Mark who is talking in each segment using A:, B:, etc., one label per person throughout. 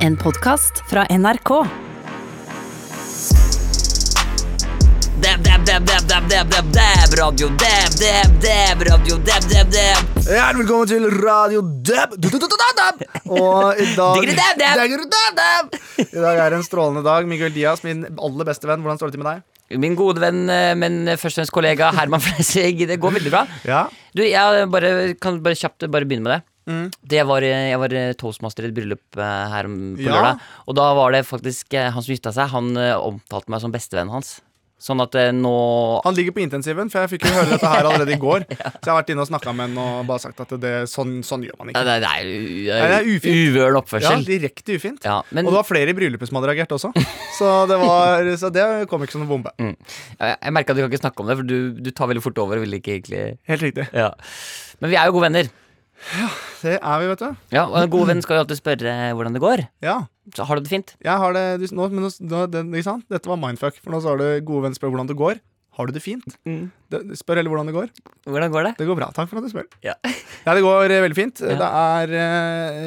A: En podkast fra NRK.
B: Dab, dab, dab, dab, dab, dab, dab, dab, radio, dab, dab, dab, radio, dab, dab, dab.
C: Hjertelig velkommen til Radio Dab. Du, du, du, du, du, dab. Og i dag
B: Digger du dab, dab?
C: Digger du dab, dab. I dag er en strålende dag. Miguel Diaz, min aller beste venn. Hvordan står det til med deg?
B: Min gode venn, eh, men først og fremst kollega Herman Flesvig, det går veldig bra.
C: Ja,
B: Du, jeg bare, kan bare kjapt bare begynne med det. det var, eh, jeg var eh, toastmaster i et bryllup eh, her om- på
C: Ja.
B: lørdag, og da var det faktisk eh, han som gifta seg, han eh, omtalte meg som bestevennen hans. Sånn at eh, nå
C: Han ligger på intensiven, for jeg fikk jo høre dette her allerede i går. Så jeg har vært inne og snakka med ham og bare sagt at det, sånn, sånn gjør man
B: Nei,
C: ikke.
B: det er, det
C: Nei,
B: er
C: det er
B: u-
C: ufint.
B: uvøren
C: Ja,
B: oppførsel.
C: Direkte ufint.
B: Ja, men-
C: Og det var flere i bryllupet som hadde reagert også. Så det, var, så det kom ikke som en bombe.
B: Mm. Jeg, jeg merker at du kan ikke snakke om det, for du, du tar veldig fort over. og Vil ikke egentlig
C: Helt riktig.
B: ja. Men vi er jo gode venner.
C: Det er vi, vet du.
B: Ja, og en god venn skal jo alltid spørre eh, hvordan det går.
C: Ja.
B: Så har du det fint?
C: Jeg har det du, nå, men nå, nå, den, ikke sant? Dette var mindfuck. For nå sa du gode venn spør hvordan det går. Har du det fint?
B: Mm.
C: Det- Spør heller hvordan det går.
B: Hvordan går det?
C: Det går bra. Takk for at du spør.
B: Ja.
C: Ja, det går eh, veldig fint.
B: Ja.
C: Det er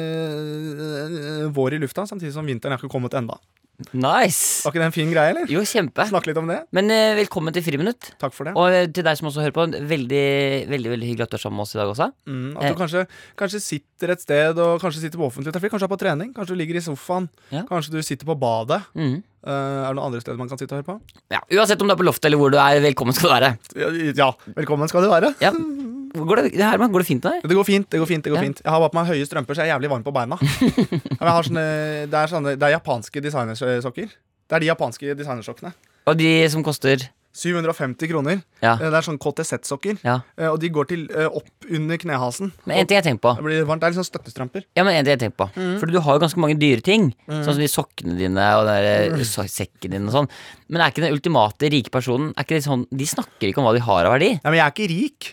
C: eh, eh, vår i lufta, samtidig som vinteren er ikke kommet enda.
B: Nice!
C: Var ikke det en fin greie, eller?
B: Jo, kjempe.
C: Snakke litt om det.
B: Men eh, velkommen til Friminutt.
C: Takk for det.
B: Og eh, til deg som også hører på, veldig veldig, veldig hyggelig at du er sammen med oss i dag også.
C: Mm,
B: Eh.
C: at du kanskje, kanskje sitter et sted og kanskje sitter på offentlig trafikk, kanskje er på trening, kanskje du ligger i sofaen,
B: Ja.
C: kanskje du sitter på badet.
B: Mhm.
C: Eh, er det noen andre steder man kan sitte og høre på?
B: Ja, Uansett om du er på loftet eller hvor du er, velkommen skal du være.
C: Ja, ja, velkommen skal du være.
B: Ja. Går det, Herman, går det fint med deg?
C: Det går fint. det går fint, det går
B: Ja.
C: fint Jeg har bare på meg høye strømper, så jeg er jævlig varm på beina. Ja, men jeg har sånne, det, er sånne, det er japanske designersokker. Det er de japanske designersokkene.
B: Og de som koster
C: 750 kroner.
B: Ja.
C: Eh, Det er sånn KTZ-sokker.
B: ja.
C: Eh, Og de går til eh, opp under knehasen.
B: Men en ting jeg tenker på.
C: Og Det blir varmt, det er liksom støttestrømper.
B: Ja, men en ting jeg tenker på For du har jo ganske mange dyre ting. Sånn som de sokkene dine og den der, eh, so- sekken din og sånn. Men er ikke den ultimate rike personen Er ikke det sånn, De snakker ikke om hva de har av verdi.
C: Nei, men jeg er ikke rik.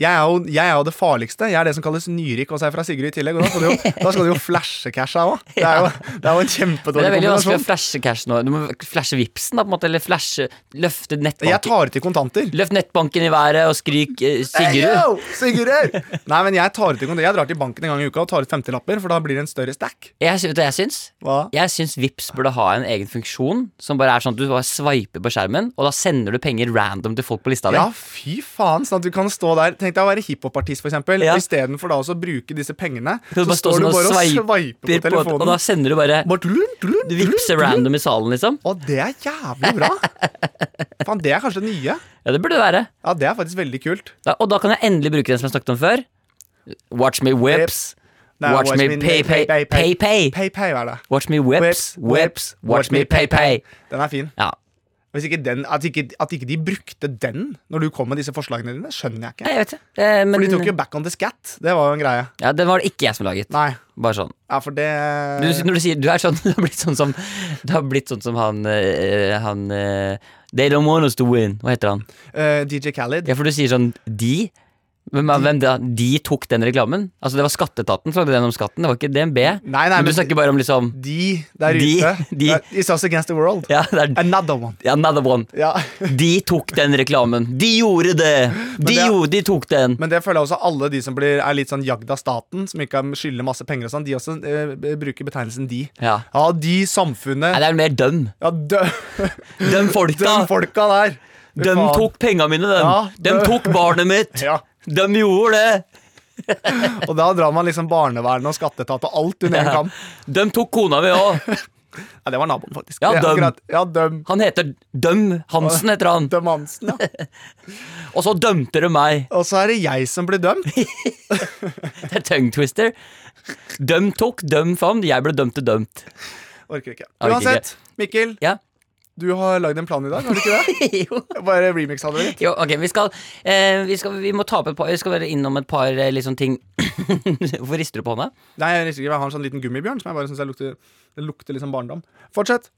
C: Jeg er, jo, jeg er jo det farligste. Jeg er det som kalles nyrik, og så er jeg fra Sigrid i tillegg. Og da skal du jo, da skal du jo flashe casha òg. Det, er jo- det er jo en
B: Men det
C: kjempedårlig
B: er veldig vanskelig å
C: kombinasjon.
B: flashe cash nå. Du må flashe vipsen da, på en måte, eller flashe Løfte
C: Jeg
B: nettbanken,
C: tar ut i kontanter.
B: løft nettbanken i været og skrik eh,
C: Hey,
B: Sigurd.
C: yo, Sigurd! Nei, men jeg tar ut i kontanter. Jeg drar til banken en gang i uka og tar ut 50-lapper, for da blir det en større stack.
B: Jeg, sy- vet du hva jeg syns?
C: Hva?
B: Jeg syns Vips burde ha en egen funksjon som bare er sånn at du bare sveiper på skjermen, og da sender du penger random til folk på lista di.
C: Ja, fy faen, sånn at du kan stå der Tenk deg å være hiphop-artist, for eksempel.
B: Ja.
C: I stedet for da også å bruke disse pengene,
B: Du
C: så
B: bare står
C: står du
B: sånn og
C: bare og
B: sveiper
C: sveiper på
B: på- og da
C: telefonen.
B: sender du bare
C: Bare tulun, tulun,
B: Du
C: tulun,
B: vipser
C: tulun.
B: random i salen, liksom.
C: Å, det er jævlig bra! Faen, det er kanskje det nye.
B: Ja, det burde det være.
C: Ja, det er faktisk veldig kult.
B: Da, og da kan jeg endelig bruke den som jeg snakket om før. Watch me whips.
C: Nei,
B: Watch me pay, pay, pay, pay.
C: PayPay er det.
B: Watch me whips, whips. Watch me pay, pay.
C: Den er fin.
B: Ja.
C: Hvis ikke den, at, ikke, at ikke de brukte den når du kom med disse forslagene dine, skjønner jeg ikke.
B: Nei, jeg vet det. Eh, men
C: For de tok jo Back on the Scat. Det var jo en greie.
B: ja, den var det ikke jeg som laget.
C: Nei,
B: Bare sånn.
C: ja, for det
B: Du,
C: Eh.
B: når du sier du er sånn, du har blitt sånn som Du har blitt sånn som han eh, Han eh, They don't want us to win. Hva heter han?
C: eh, DJ Khaled.
B: Ja, for du sier sånn De? Hvem, er- hvem da? De tok den reklamen? Altså, det var Skatteetaten som lagde den om skatten. Det var ikke DNB.
C: Nei, nei,
B: men du
C: men-
B: snakker bare om liksom
C: De der
B: De-
C: ute.
B: de-
C: Det er- It's us against the world.
B: Ja, det er
C: Another one.
B: Another one.
C: Ja.
B: De tok den reklamen. De gjorde det! De,
C: det er-
B: gjorde, de tok den.
C: Men det føler jeg også alle de som blir, er litt sånn jagd av staten, som ikke har- skylder masse penger og sånn, de også eh, b- bruker betegnelsen de.
B: Ja.
C: Ja, de
B: Nei,
C: samfunnet.
B: det er mer døm.
C: Ja, dø
B: Døm folka!
C: de folka der. Fy
B: Døm
C: faen.
B: tok penga mine, dem.
C: Ja,
B: Dem
C: døm.
B: tok barnet mitt.
C: Ja.
B: Dem gjorde det.
C: Og da drar man liksom barnevernet og skatteetat og alt under en kam.
B: Dem tok kona mi òg.
C: Ja, det var naboen, faktisk.
B: Ja,
C: Det er
B: døm.
C: akkurat- Ja, døm.
B: Han heter Døm Hansen, heter han.
C: Døm Hansen, ja.
B: Og så dømte de meg.
C: Og så er det jeg som blir dømt.
B: Det er tongue twister. Døm tok, døm fant. Jeg ble dømt til dømt.
C: Orker ikke.
B: Orker ikke.
C: Uansett, Mikkel,
B: Ja.
C: du har lagd en plan i dag, har du ikke det?
B: jo.
C: Bare remixa det litt.
B: Jo, ok, vi skal, eh, vi skal Vi må ta opp et par Vi skal være innom et par eh, liksom ting Hvorfor rister du på hånda?
C: Nei, jeg risker ikke. Jeg har en sånn liten gummibjørn som jeg bare syns lukter, det lukter liksom barndom. Fortsett.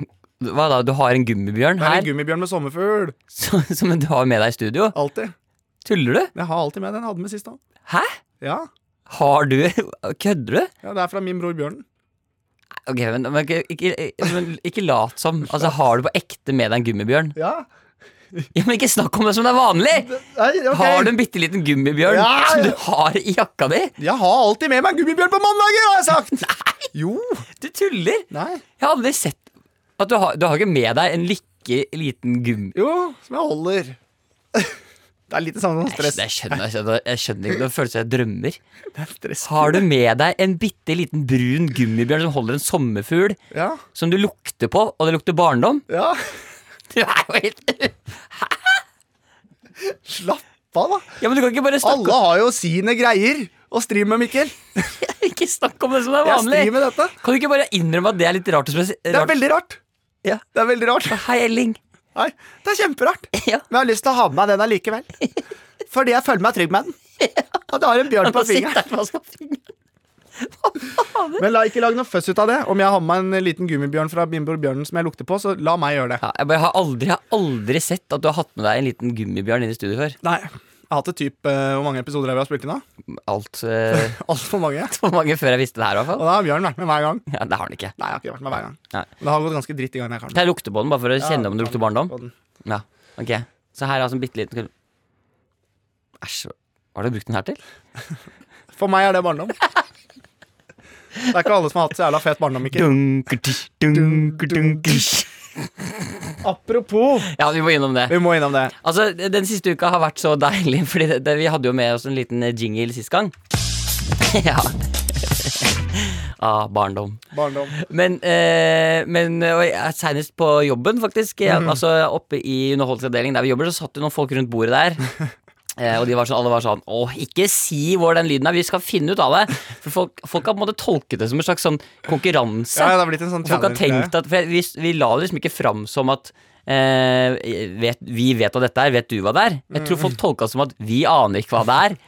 B: Hva da? Du har en gummibjørn
C: Det er en
B: her?
C: gummibjørn med sommerfugl.
B: som, som du har med deg i studio?
C: Alltid.
B: Tuller du?
C: Jeg har alltid med den. Jeg hadde med sist òg.
B: Hæ?
C: Ja.
B: Har du Kødder du?
C: ja, det er fra min bror Bjørnen.
B: Ok, men, men ikke, ikke, men ikke lat som. Altså, har du på ekte med deg en gummibjørn?
C: Ja.
B: Ja, men ikke snakk om det som det er vanlig!
C: Nei, ok.
B: Har du en bitte liten gummibjørn
C: Ja,
B: som du
C: ja.
B: har i jakka di?
C: Jeg har alltid med meg gummibjørn på mandager, har jeg sagt! Nei. Jo.
B: Du tuller!
C: Nei.
B: Jeg har aldri sett at du har, du har ikke med deg en lykke liten gum...
C: Jo, som jeg holder. Det er litt det samme som
B: Jeg,
C: stress.
B: jeg, skjønner, jeg, skjønner, jeg skjønner ikke, det føles som jeg drømmer.
C: Det er stress.
B: Har du med deg en bitte liten brun gummibjørn som holder en sommerfugl,
C: Ja.
B: som du lukter på, og det lukter barndom?
C: ja.
B: Du er jo helt
C: Slapp av, da.
B: Ja, men du kan ikke bare snakke,
C: Alle har jo sine greier å stri med, Mikkel.
B: om- ikke snakke om det som det er
C: Jeg
B: vanlig!
C: strir med dette.
B: Kan du ikke bare innrømme at det er litt rart? og spes-
C: Det er
B: rart?
C: veldig rart.
B: Ja.
C: Det er veldig rart.
B: Hei, Elling.
C: Nei, det er kjemperart.
B: Ja.
C: Men jeg har lyst til å ha med meg den allikevel. Fordi jeg føler meg trygg med den. At jeg har en bjørn på fingeren. Men la ikke lage noe føss ut av det. Om jeg har med meg en liten gummibjørn fra Bimbo Bjørnen som jeg lukter på, så la meg gjøre det.
B: Ja, jeg bare har aldri, jeg har aldri sett at du har hatt med deg en liten gummibjørn inn i studio før.
C: Nei. Jeg har hatt det typ eh, Hvor mange episoder har vi hatt spilt inn, da?
B: Alt eh,
C: Altfor mange.
B: for mange før jeg visste det her, i hvert
C: Og
B: fall.
C: da har Bjørn vært med hver gang. Nei,
B: Ja, det har han ikke.
C: jeg har ikke vært med hver gang.
B: Nei.
C: Men det har gått ganske dritt i gang. Jeg kan.
B: Kan jeg lukte på den, bare for å kjenne om det lukter barndom?
C: På den.
B: Ja, ok Så her er altså en bitte liten Æsj, hva har du brukt den her til?
C: For meg er det barndom. Det er ikke alle som har hatt så jævla fet barndom, Mikkel.
B: Dunkertisj, dunkertisj
C: Apropos,
B: Ja, vi må innom det.
C: vi må innom det.
B: Altså, Den siste uka har vært så deilig, Fordi det, det, vi hadde jo med oss en liten jingle sist gang. ja. ah, barndom.
C: Barndom.
B: Men, eh, men og jeg- senest på jobben, faktisk. Jeg-
C: Mhm.
B: Altså Oppe i underholdningsavdelingen der vi jobber, så satt det noen folk rundt bordet der. Eh, og de var sånn, alle var sånn Åh, ikke si hvor den lyden er, vi skal finne ut av det. For folk, folk har på en måte tolket det som en slags sånn konkurranse.
C: Ja, det har blitt en sånn
B: Og Folk har
C: challenge-greie.
B: tenkt at For jeg- vi, vi la det liksom ikke fram som at eh, vet, Vi vet hva dette er, vet du hva det er? Jeg tror
C: Mhm.
B: folk tolka det som at vi aner ikke hva det er.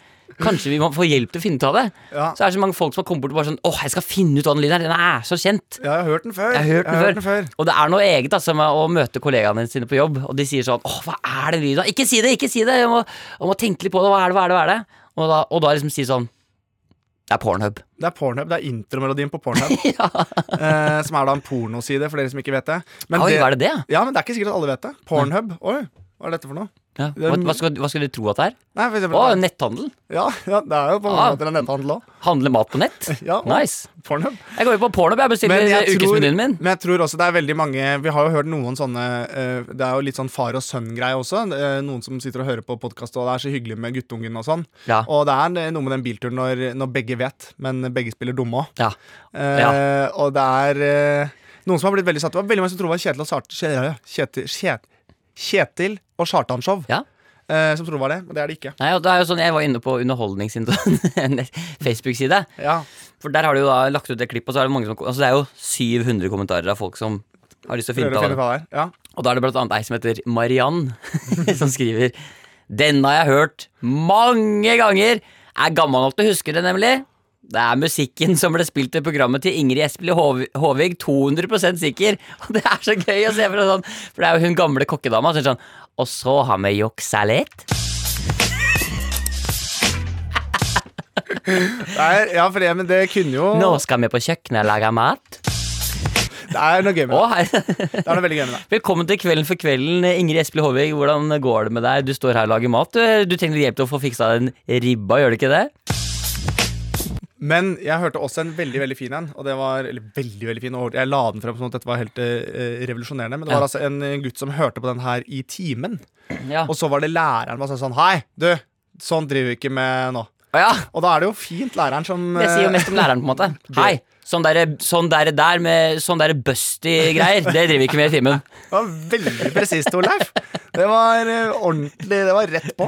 B: Kanskje vi må få hjelp til å finne ut av det.
C: Ja.
B: Så er det så mange folk som har kommet bort og bare sånn Åh, jeg skal finne ut hva den lyden er. Den er så kjent.
C: Ja, jeg har hørt den før.
B: Jeg har hørt den, før.
C: før.
B: Og det er noe eget altså, med å møte kollegaene sine på jobb, og de sier sånn Åh, hva er den lyden? av? Ikke si det, ikke si det! Jeg må, jeg må tenke litt på det. Hva er det, hva er det? Hva er det? Og, da, og da liksom si sånn Det er Pornhub.
C: Det er Pornhub, det er intromelodien på Pornhub. eh, som er da en pornoside, for dere som ikke vet det. Men
B: Oi,
C: det-
B: hva er det det?
C: Ja, men det er ikke sikkert at alle vet det. Pornhub. Oi, hva er dette for noe?
B: Ja.
C: er
B: Hva,
C: mye-
B: hva, skulle, hva skulle du tro at det er?
C: Nei, for eksempel,
B: Å, netthandel.
C: ja, ja, det er jo på mange
B: Ah.
C: måter en netthandel òg.
B: Handle mat på nett?
C: Ja, og
B: Nice.
C: Pornhub.
B: Jeg går jo på porno, jeg bestiller ukesmenyen min.
C: men jeg tror også det er veldig mange Vi har jo hørt noen sånne eh, Det er jo litt sånn far og sønn-greie også. eh, Noen som sitter og hører på podkast, og det er så hyggelig med guttungen og sånn.
B: Ja.
C: Og det er noe med den bilturen når, når begge vet, men begge spiller dumme òg.
B: Ja.
C: Eh, Og det er eh, noen som har blitt veldig satt Det var veldig mange som trodde det var Kjetil og Sart... Kje- Kjetil, Kjet- Kjetil og Sartan-show.
B: Ja.
C: eh, som trodde det var det, men det er det ikke.
B: Nei, og det er jo sånn, Jeg var inne på Underholdningsindustrien Facebook-side.
C: Ja,
B: For Der har du jo da lagt ut et klipp, og så er det mange som Altså det er jo 700 kommentarer av folk som har lyst til å finne ut
C: prøver å finne
B: av det.
C: ut av det. Ja.
B: Og da er det blant annet ei som heter Mariann, som skriver Denne har jeg hørt mange ganger! Er gammel nok til å huske det, nemlig. Det er musikken som ble spilt i programmet til Ingrid Espelid Håv- Håvig, 200 sikker. Og det er så gøy å se for sånn, for det er jo hun gamle kokkedama som er sånn Og så har vi juksa litt.
C: Det er, ja, for det, men det kunne jo
B: Nå skal vi på kjøkkenet og lage mat.
C: Det er noe gøy med
B: Å,
C: det.
B: hei.
C: Det er noe veldig gøy med det.
B: Velkommen til Kvelden for kvelden, Ingrid Espelid Håvig. Hvordan går det med deg? Du står her og lager mat. Du, du trenger litt hjelp til å få fiksa den ribba, gjør du ikke det?
C: Men jeg hørte også en veldig veldig fin en. Og det var, eller veldig, veldig fin og Jeg la den frem som at dette var helt eh, revolusjonerende. Men det var
B: Ja.
C: altså en eh, gutt som hørte på den her i timen.
B: Ja.
C: Og så var det læreren som sa sånn Hei, du! Sånn driver vi ikke med nå.
B: Å ja.
C: Og da er det jo fint læreren som
B: Det sier jo
C: eh,
B: mest om læreren, på en måte. Hei! Sånn derre sånn der, der med sånn derre busty greier, det driver vi ikke med i timen.
C: var veldig presist, Torleif. Det var eh, ordentlig. Det var rett på.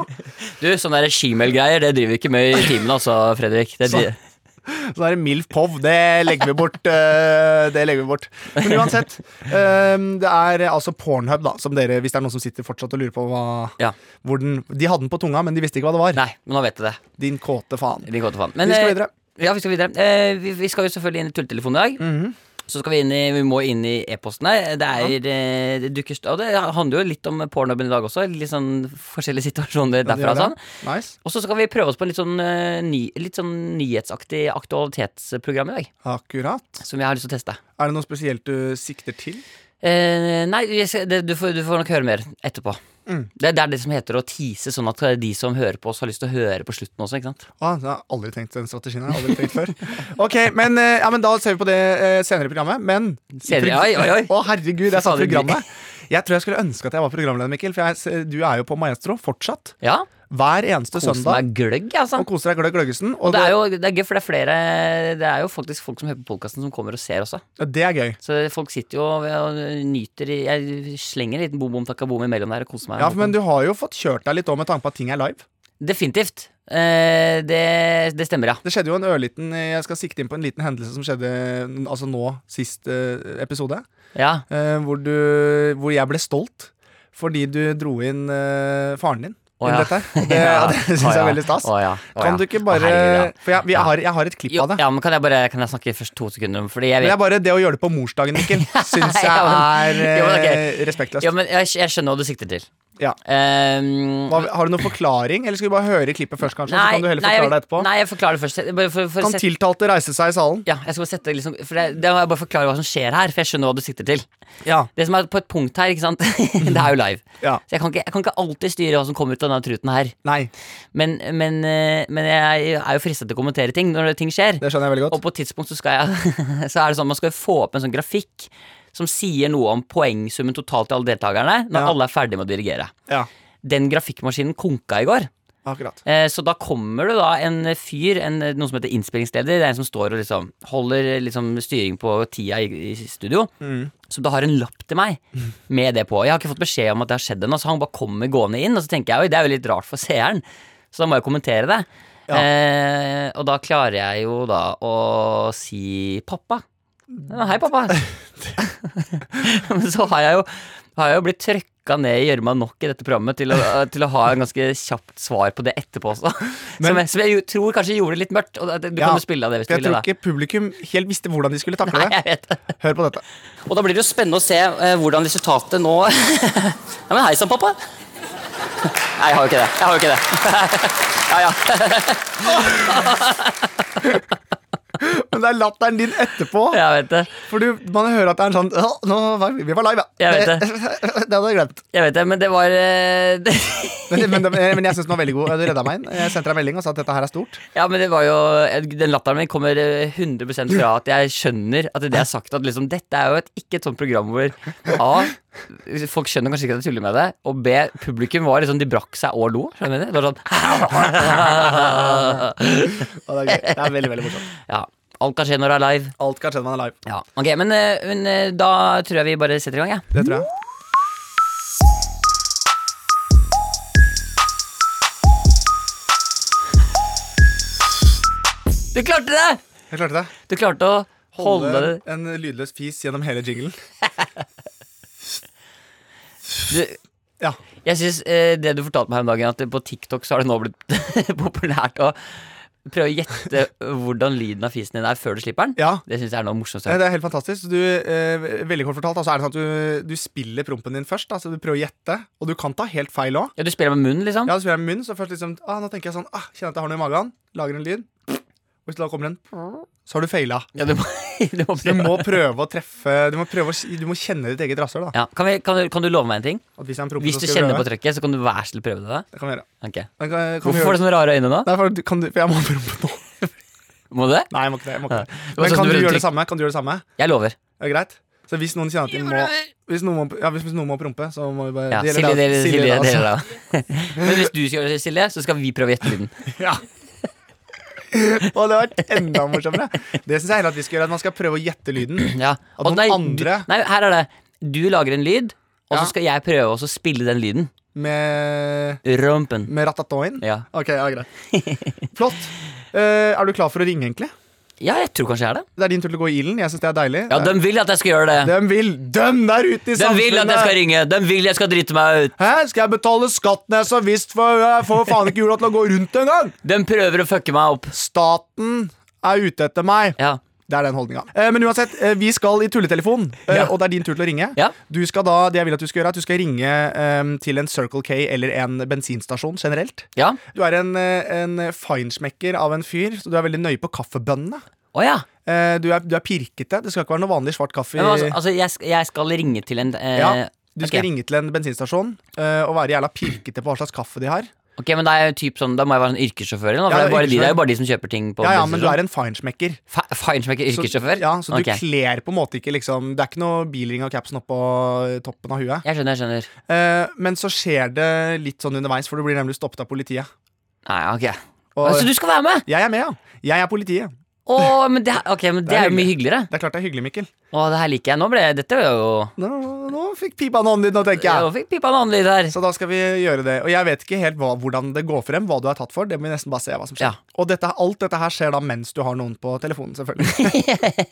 B: Du, sånn derre shemale-greier, det driver vi ikke med i timen, altså, Fredrik. Det,
C: Sånn.
B: dri-
C: Så da er det Milf Pov. Det legger vi bort. eh, det legger vi bort. Men uansett, eh, det er eh, altså Pornhub, da, som dere, hvis det er noen som sitter fortsatt og lurer på hva
B: Ja.
C: hvor den, De hadde den på tunga, men de visste ikke hva det var.
B: Nei, men nå vet du det.
C: Din kåte faen.
B: Din gode faen. Men,
C: Vi skal
B: eh,
C: videre.
B: Ja, vi skal videre. Eh, vi, vi skal jo selvfølgelig inn i tulletelefonen i dag.
C: Mhm.
B: Så skal vi inn i Vi må inn i e-posten her. Det er eh, det dukker st- Og det handler jo litt om pornoben i dag også. Litt sånn forskjellige situasjoner derfra og
C: Gjør
B: sånn.
C: det. Nice.
B: Og så skal vi prøve oss på en litt sånn, eh, ny, litt sånn nyhetsaktig aktualitetsprogram i dag.
C: Akkurat.
B: Som jeg har lyst til å teste.
C: Er det noe spesielt du sikter til?
B: Eh, nei, jeg skal, det, du, får, du får nok høre mer etterpå.
C: Mm.
B: Det, det er det som heter å tease, sånn at de som hører på oss, har lyst til å høre på slutten også. ikke sant?
C: Ah, jeg har aldri tenkt den strategien. her, aldri tenkt før Ok, men, eh, ja, men Da ser vi på det eh, senere i programmet. Men
B: Senere, oi, oi, oi.
C: Å, herregud, jeg
B: Sa
C: sa
B: du-
C: programmet. Jeg tror jeg skulle ønske at jeg var programleder, Mikkel. For jeg, s- du er jo på Maestro fortsatt.
B: Ja.
C: Hver eneste
B: Kose
C: søndag.
B: meg gløgg, altså.
C: Og koser deg gløgg gløggesen. Og
B: Det er jo det er gøy, for det er flere Det er jo faktisk folk som hører på podkasten, som kommer og ser også.
C: ja, det er gøy.
B: Så folk sitter jo og og nyter i- Jeg slenger en liten bom-bom takabom imellom der og koser meg.
C: Ja, for, Men du har jo fått kjørt deg litt òg med tanke på at ting er live.
B: Definitivt. Eh, det, det stemmer, ja.
C: Det skjedde jo en ørliten eh, Jeg skal sikte inn på en liten hendelse som skjedde Altså nå, sist eh, episode.
B: ja.
C: eh, hvor, du, hvor jeg ble stolt fordi du dro inn eh, faren din.
B: Å,
C: inn
B: ja.
C: dette. her. Og det, og det syns jeg er veldig stas.
B: Å, ja. Å, ja.
C: Kan du ikke bare
B: Å, herregud, ja.
C: For jeg, vi
B: Ja.
C: har, jeg har et klipp
B: Jo,
C: av det.
B: ja, men kan jeg bare Kan jeg snakke først to sekunder om Fordi jeg
C: Men det
B: vet
C: er bare det å gjøre det på morsdagen, Mikkel, syns jeg
B: Ja,
C: er
B: men- Jo, men ok.
C: eh, respektløst.
B: Ja, men jeg, jeg skjønner hva du sikter til.
C: Ja.
B: Ehm,
C: Hva, har du noen forklaring, eller skal vi bare høre klippet først, kanskje? så kan du heller
B: nei, jeg,
C: forklare deg etterpå.
B: Nei, jeg forklarer det først. Bare for, for å
C: Kan
B: sette-
C: tiltalte reise seg i salen?
B: ja, jeg skal bare sette liksom For det, det må jeg bare forklare hva som skjer her, for jeg skjønner hva du sikter til.
C: Ja.
B: Det som er på et punkt her, ikke sant Det er jo live.
C: Ja.
B: Så jeg kan, ikke, jeg kan ikke alltid styre hva som kommer ut av denne truten her.
C: Nei,
B: Men, men, eh, men jeg er jo fristet til å kommentere ting når ting skjer.
C: det skjønner jeg veldig
B: Og
C: godt.
B: på et tidspunkt så, skal jeg, så er det sånn at man skal få opp en sånn grafikk som sier noe om poengsummen totalt til alle deltakerne når
C: Ja.
B: alle er ferdige med å dirigere.
C: Ja,
B: Den grafikkmaskinen konka i går.
C: akkurat.
B: Eh, Så da kommer det da en fyr, en, noen som heter innspillingsleder, det er en som står og liksom holder liksom styring på tida i, i studio, som da har en lapp til meg med det på. Jeg har ikke fått beskjed om at det har skjedd ennå, så han bare kommer gående inn, og så tenker jeg oi, det er jo litt rart for seeren, så da må jeg kommentere det.
C: Ja.
B: Eh, og da klarer jeg jo da å si pappa. Ja, Hei, pappa. Men så har jeg jo, har jeg jo blitt trøkka ned i gjørma nok i dette programmet til å, til å ha en ganske kjapt svar på det etterpå også. som, jeg, som jeg jo tror kanskje gjorde det litt mørkt. Og det- du
C: Ja,
B: kan jo spille av det hvis du
C: For jeg
B: vil.
C: tror
B: Da.
C: ikke publikum helt visste hvordan de skulle takle
B: Nei,
C: det.
B: jeg vet det.
C: Hør på dette.
B: Og da blir det jo spennende å se eh, hvordan resultatet nå Nei, men hei sann, pappa. Nei, jeg har jo ikke det. Jeg har jo ikke det. ja, ja.
C: Men det er latteren din etterpå.
B: Jeg vet det.
C: For du, man hører at det er en sånn «Å, nå var vi, vi var live, ja.
B: Jeg vet
C: det hadde jeg glemt.
B: Jeg vet det, men det var eh, det,
C: Men, men, men jeg syns den var veldig god. Du redda meg inn. Jeg sendte deg en melding og sa at dette her er stort.
B: Ja, men det var jo Den latteren min kommer eh, 100 fra at jeg skjønner at det er sagt at liksom Dette er jo et, ikke et sånt program hvor A. Folk skjønner kanskje ikke at jeg tuller med det. Og B. Publikum var liksom De brakk seg og lo. Skjønner du? Det var sånn
C: Og det er gøy. Det er veldig, veldig morsomt.
B: Ja. Alt kan skje når det er live.
C: Alt kan skje når man er live.
B: Ja, ok, men, eh, men eh, da tror jeg vi bare setter i gang, jeg. Ja.
C: Det tror jeg.
B: Du klarte det!
C: Jeg klarte det.
B: Du klarte å holde det
C: Holde en lydløs fis gjennom hele jinglen.
B: du,
C: Ja.
B: Jeg synes eh, det du fortalte meg her om dagen, at på TikTok så har det nå blitt populært å prøve å gjette hvordan lyden av fisen din er før du slipper den.
C: ja.
B: Det syns jeg er noe morsomt.
C: Nei, Det er helt fantastisk. Du, eh, veldig kort fortalt, da, så er det sånn at du, du spiller prompen din først. Da, så du prøver å gjette, og du kan ta helt feil òg.
B: Ja, du spiller med munnen, liksom?
C: Ja, så spiller jeg med munnen, så først liksom ah, Nå tenker jeg sånn ah, Kjenner at jeg har noe i magen. Lager en lyd. Og hvis det da kommer en Så har du feila.
B: Ja, du må, du må
C: Du
B: prøve.
C: må prøve å treffe Du må, prøve å, si- du må kjenne ditt eget rasshøl. da.
B: Ja, kan, vi, kan, du, kan du love meg en ting?
C: At Hvis, jeg er en prompe,
B: Hvis
C: så
B: du
C: skal jeg
B: kjenner på
C: prøve.
B: trøkket, så kan du vær så snill prøve det. da?
C: Det kan vi gjøre.
B: Ok.
C: Men Kan, kan vi
B: Hvorfor sånn? får
C: gjøre det?
B: du sånne rare øyne nå?
C: Nei, for, du- kan du, for jeg må prompe nå.
B: Må du det?
C: Nei, jeg må ikke det. Jeg må ikke det.
B: var
C: Men
B: sånn
C: kan
B: du
C: du
B: ble
C: gjøre det
B: trykk-
C: samme? Kan du gjøre det samme?
B: Jeg lover.
C: Ja, greit? Så hvis noen kjenner at de må Hvis noen må, ja, hvis, hvis noen må prompe, så må vi bare
B: Ja,
C: det gjelder
B: Silje, dere,
C: deg, Silje, altså.
B: Silje,
C: deg,
B: dere, da. Men hvis du skal gjøre det, Silje, så skal vi prøve å gjette lyden.
C: altså. Ja. Og det hadde vært enda morsommere. Det syns jeg heller at vi skal gjøre. At man skal prøve å gjette lyden.
B: Ja.
C: At
B: Og
C: noen
B: nei,
C: andre-
B: du, Nei, her er det. Du lager en lyd, og
C: Ja.
B: så skal jeg prøve også å spille den lyden.
C: Med,
B: Rumpen.
C: med ratatoin.
B: Ja.
C: Ok, ja, greit. Flott. Eh, er du klar for å ringe, egentlig?
B: ja, jeg tror kanskje jeg er det.
C: Det er din tur til å gå i ilden. Jeg syns det er deilig.
B: Ja, de vil at jeg skal gjøre det.
C: De vil! Døm der ute i
B: De
C: samfunnet!
B: vil at jeg skal ringe. De vil jeg skal drite meg ut.
C: Hæ? Skal jeg betale skatten jeg så visst for? Jeg får faen ikke jula til å gå rundt engang!
B: De prøver å fucke meg opp.
C: Staten er ute etter meg.
B: Ja.
C: Det er den holdninga. Eh, men uansett, eh, vi skal i tulletelefonen, eh,
B: Ja.
C: og det er din tur til å ringe.
B: Ja.
C: Du skal da, det jeg vil at du skal gjøre, er at du skal ringe eh, til en Circle K eller en bensinstasjon generelt.
B: Ja.
C: Du er en, eh, en feinschmecker av en fyr, så du er veldig nøye på kaffebønnene.
B: Å ja.
C: Eh, du, er, du er pirkete. Det skal ikke være noe vanlig svart kaffe.
B: Men, altså, altså jeg, sk- jeg skal ringe til en eh,
C: Ja. Du
B: altså,
C: skal
B: Ok.
C: ringe til en bensinstasjon eh, og være jævla pirkete på hva slags kaffe de har.
B: Ok, men det er jo typ sånn, Da må jeg være sånn yrkessjåfør? eller noe, For
C: Ja,
B: det, er bare de, det er
C: yrkessjåfør.
B: jo bare de som kjøper ting på sånn.
C: Ja, ja, men du
B: bensinstasjon.
C: er en feinschmecker.
B: Fe- Feinschmecker
C: Så-
B: yrkessjåfør?
C: Ja, så du
B: Ok.
C: kler på en måte ikke liksom Det er ikke noe bilring av capsen oppå toppen av huet.
B: Jeg skjønner, jeg skjønner.
C: Eh, men så skjer det litt sånn underveis, for du blir nemlig stoppet av politiet.
B: Nei, ok
C: Og
B: Så Altså, du skal være med?
C: jeg er med, ja. Jeg er politiet.
B: Å, men det, ok, men det,
C: Det er
B: er jo mye hyggeligere.
C: Det er klart det er hyggelig, Mikkel.
B: Å, det her liker jeg. Nå ble Dette var jo
C: Nå, nå fikk pipa navnet ditt, nå, tenker jeg.
B: Jeg fikk pipa en annen lyd her.
C: Så da skal vi gjøre det. Og jeg vet ikke helt hva, hvordan det går frem, hva du er tatt for. Det må vi nesten bare se hva som skjer.
B: Ja.
C: Og dette, alt dette her skjer da mens du har noen på telefonen, selvfølgelig.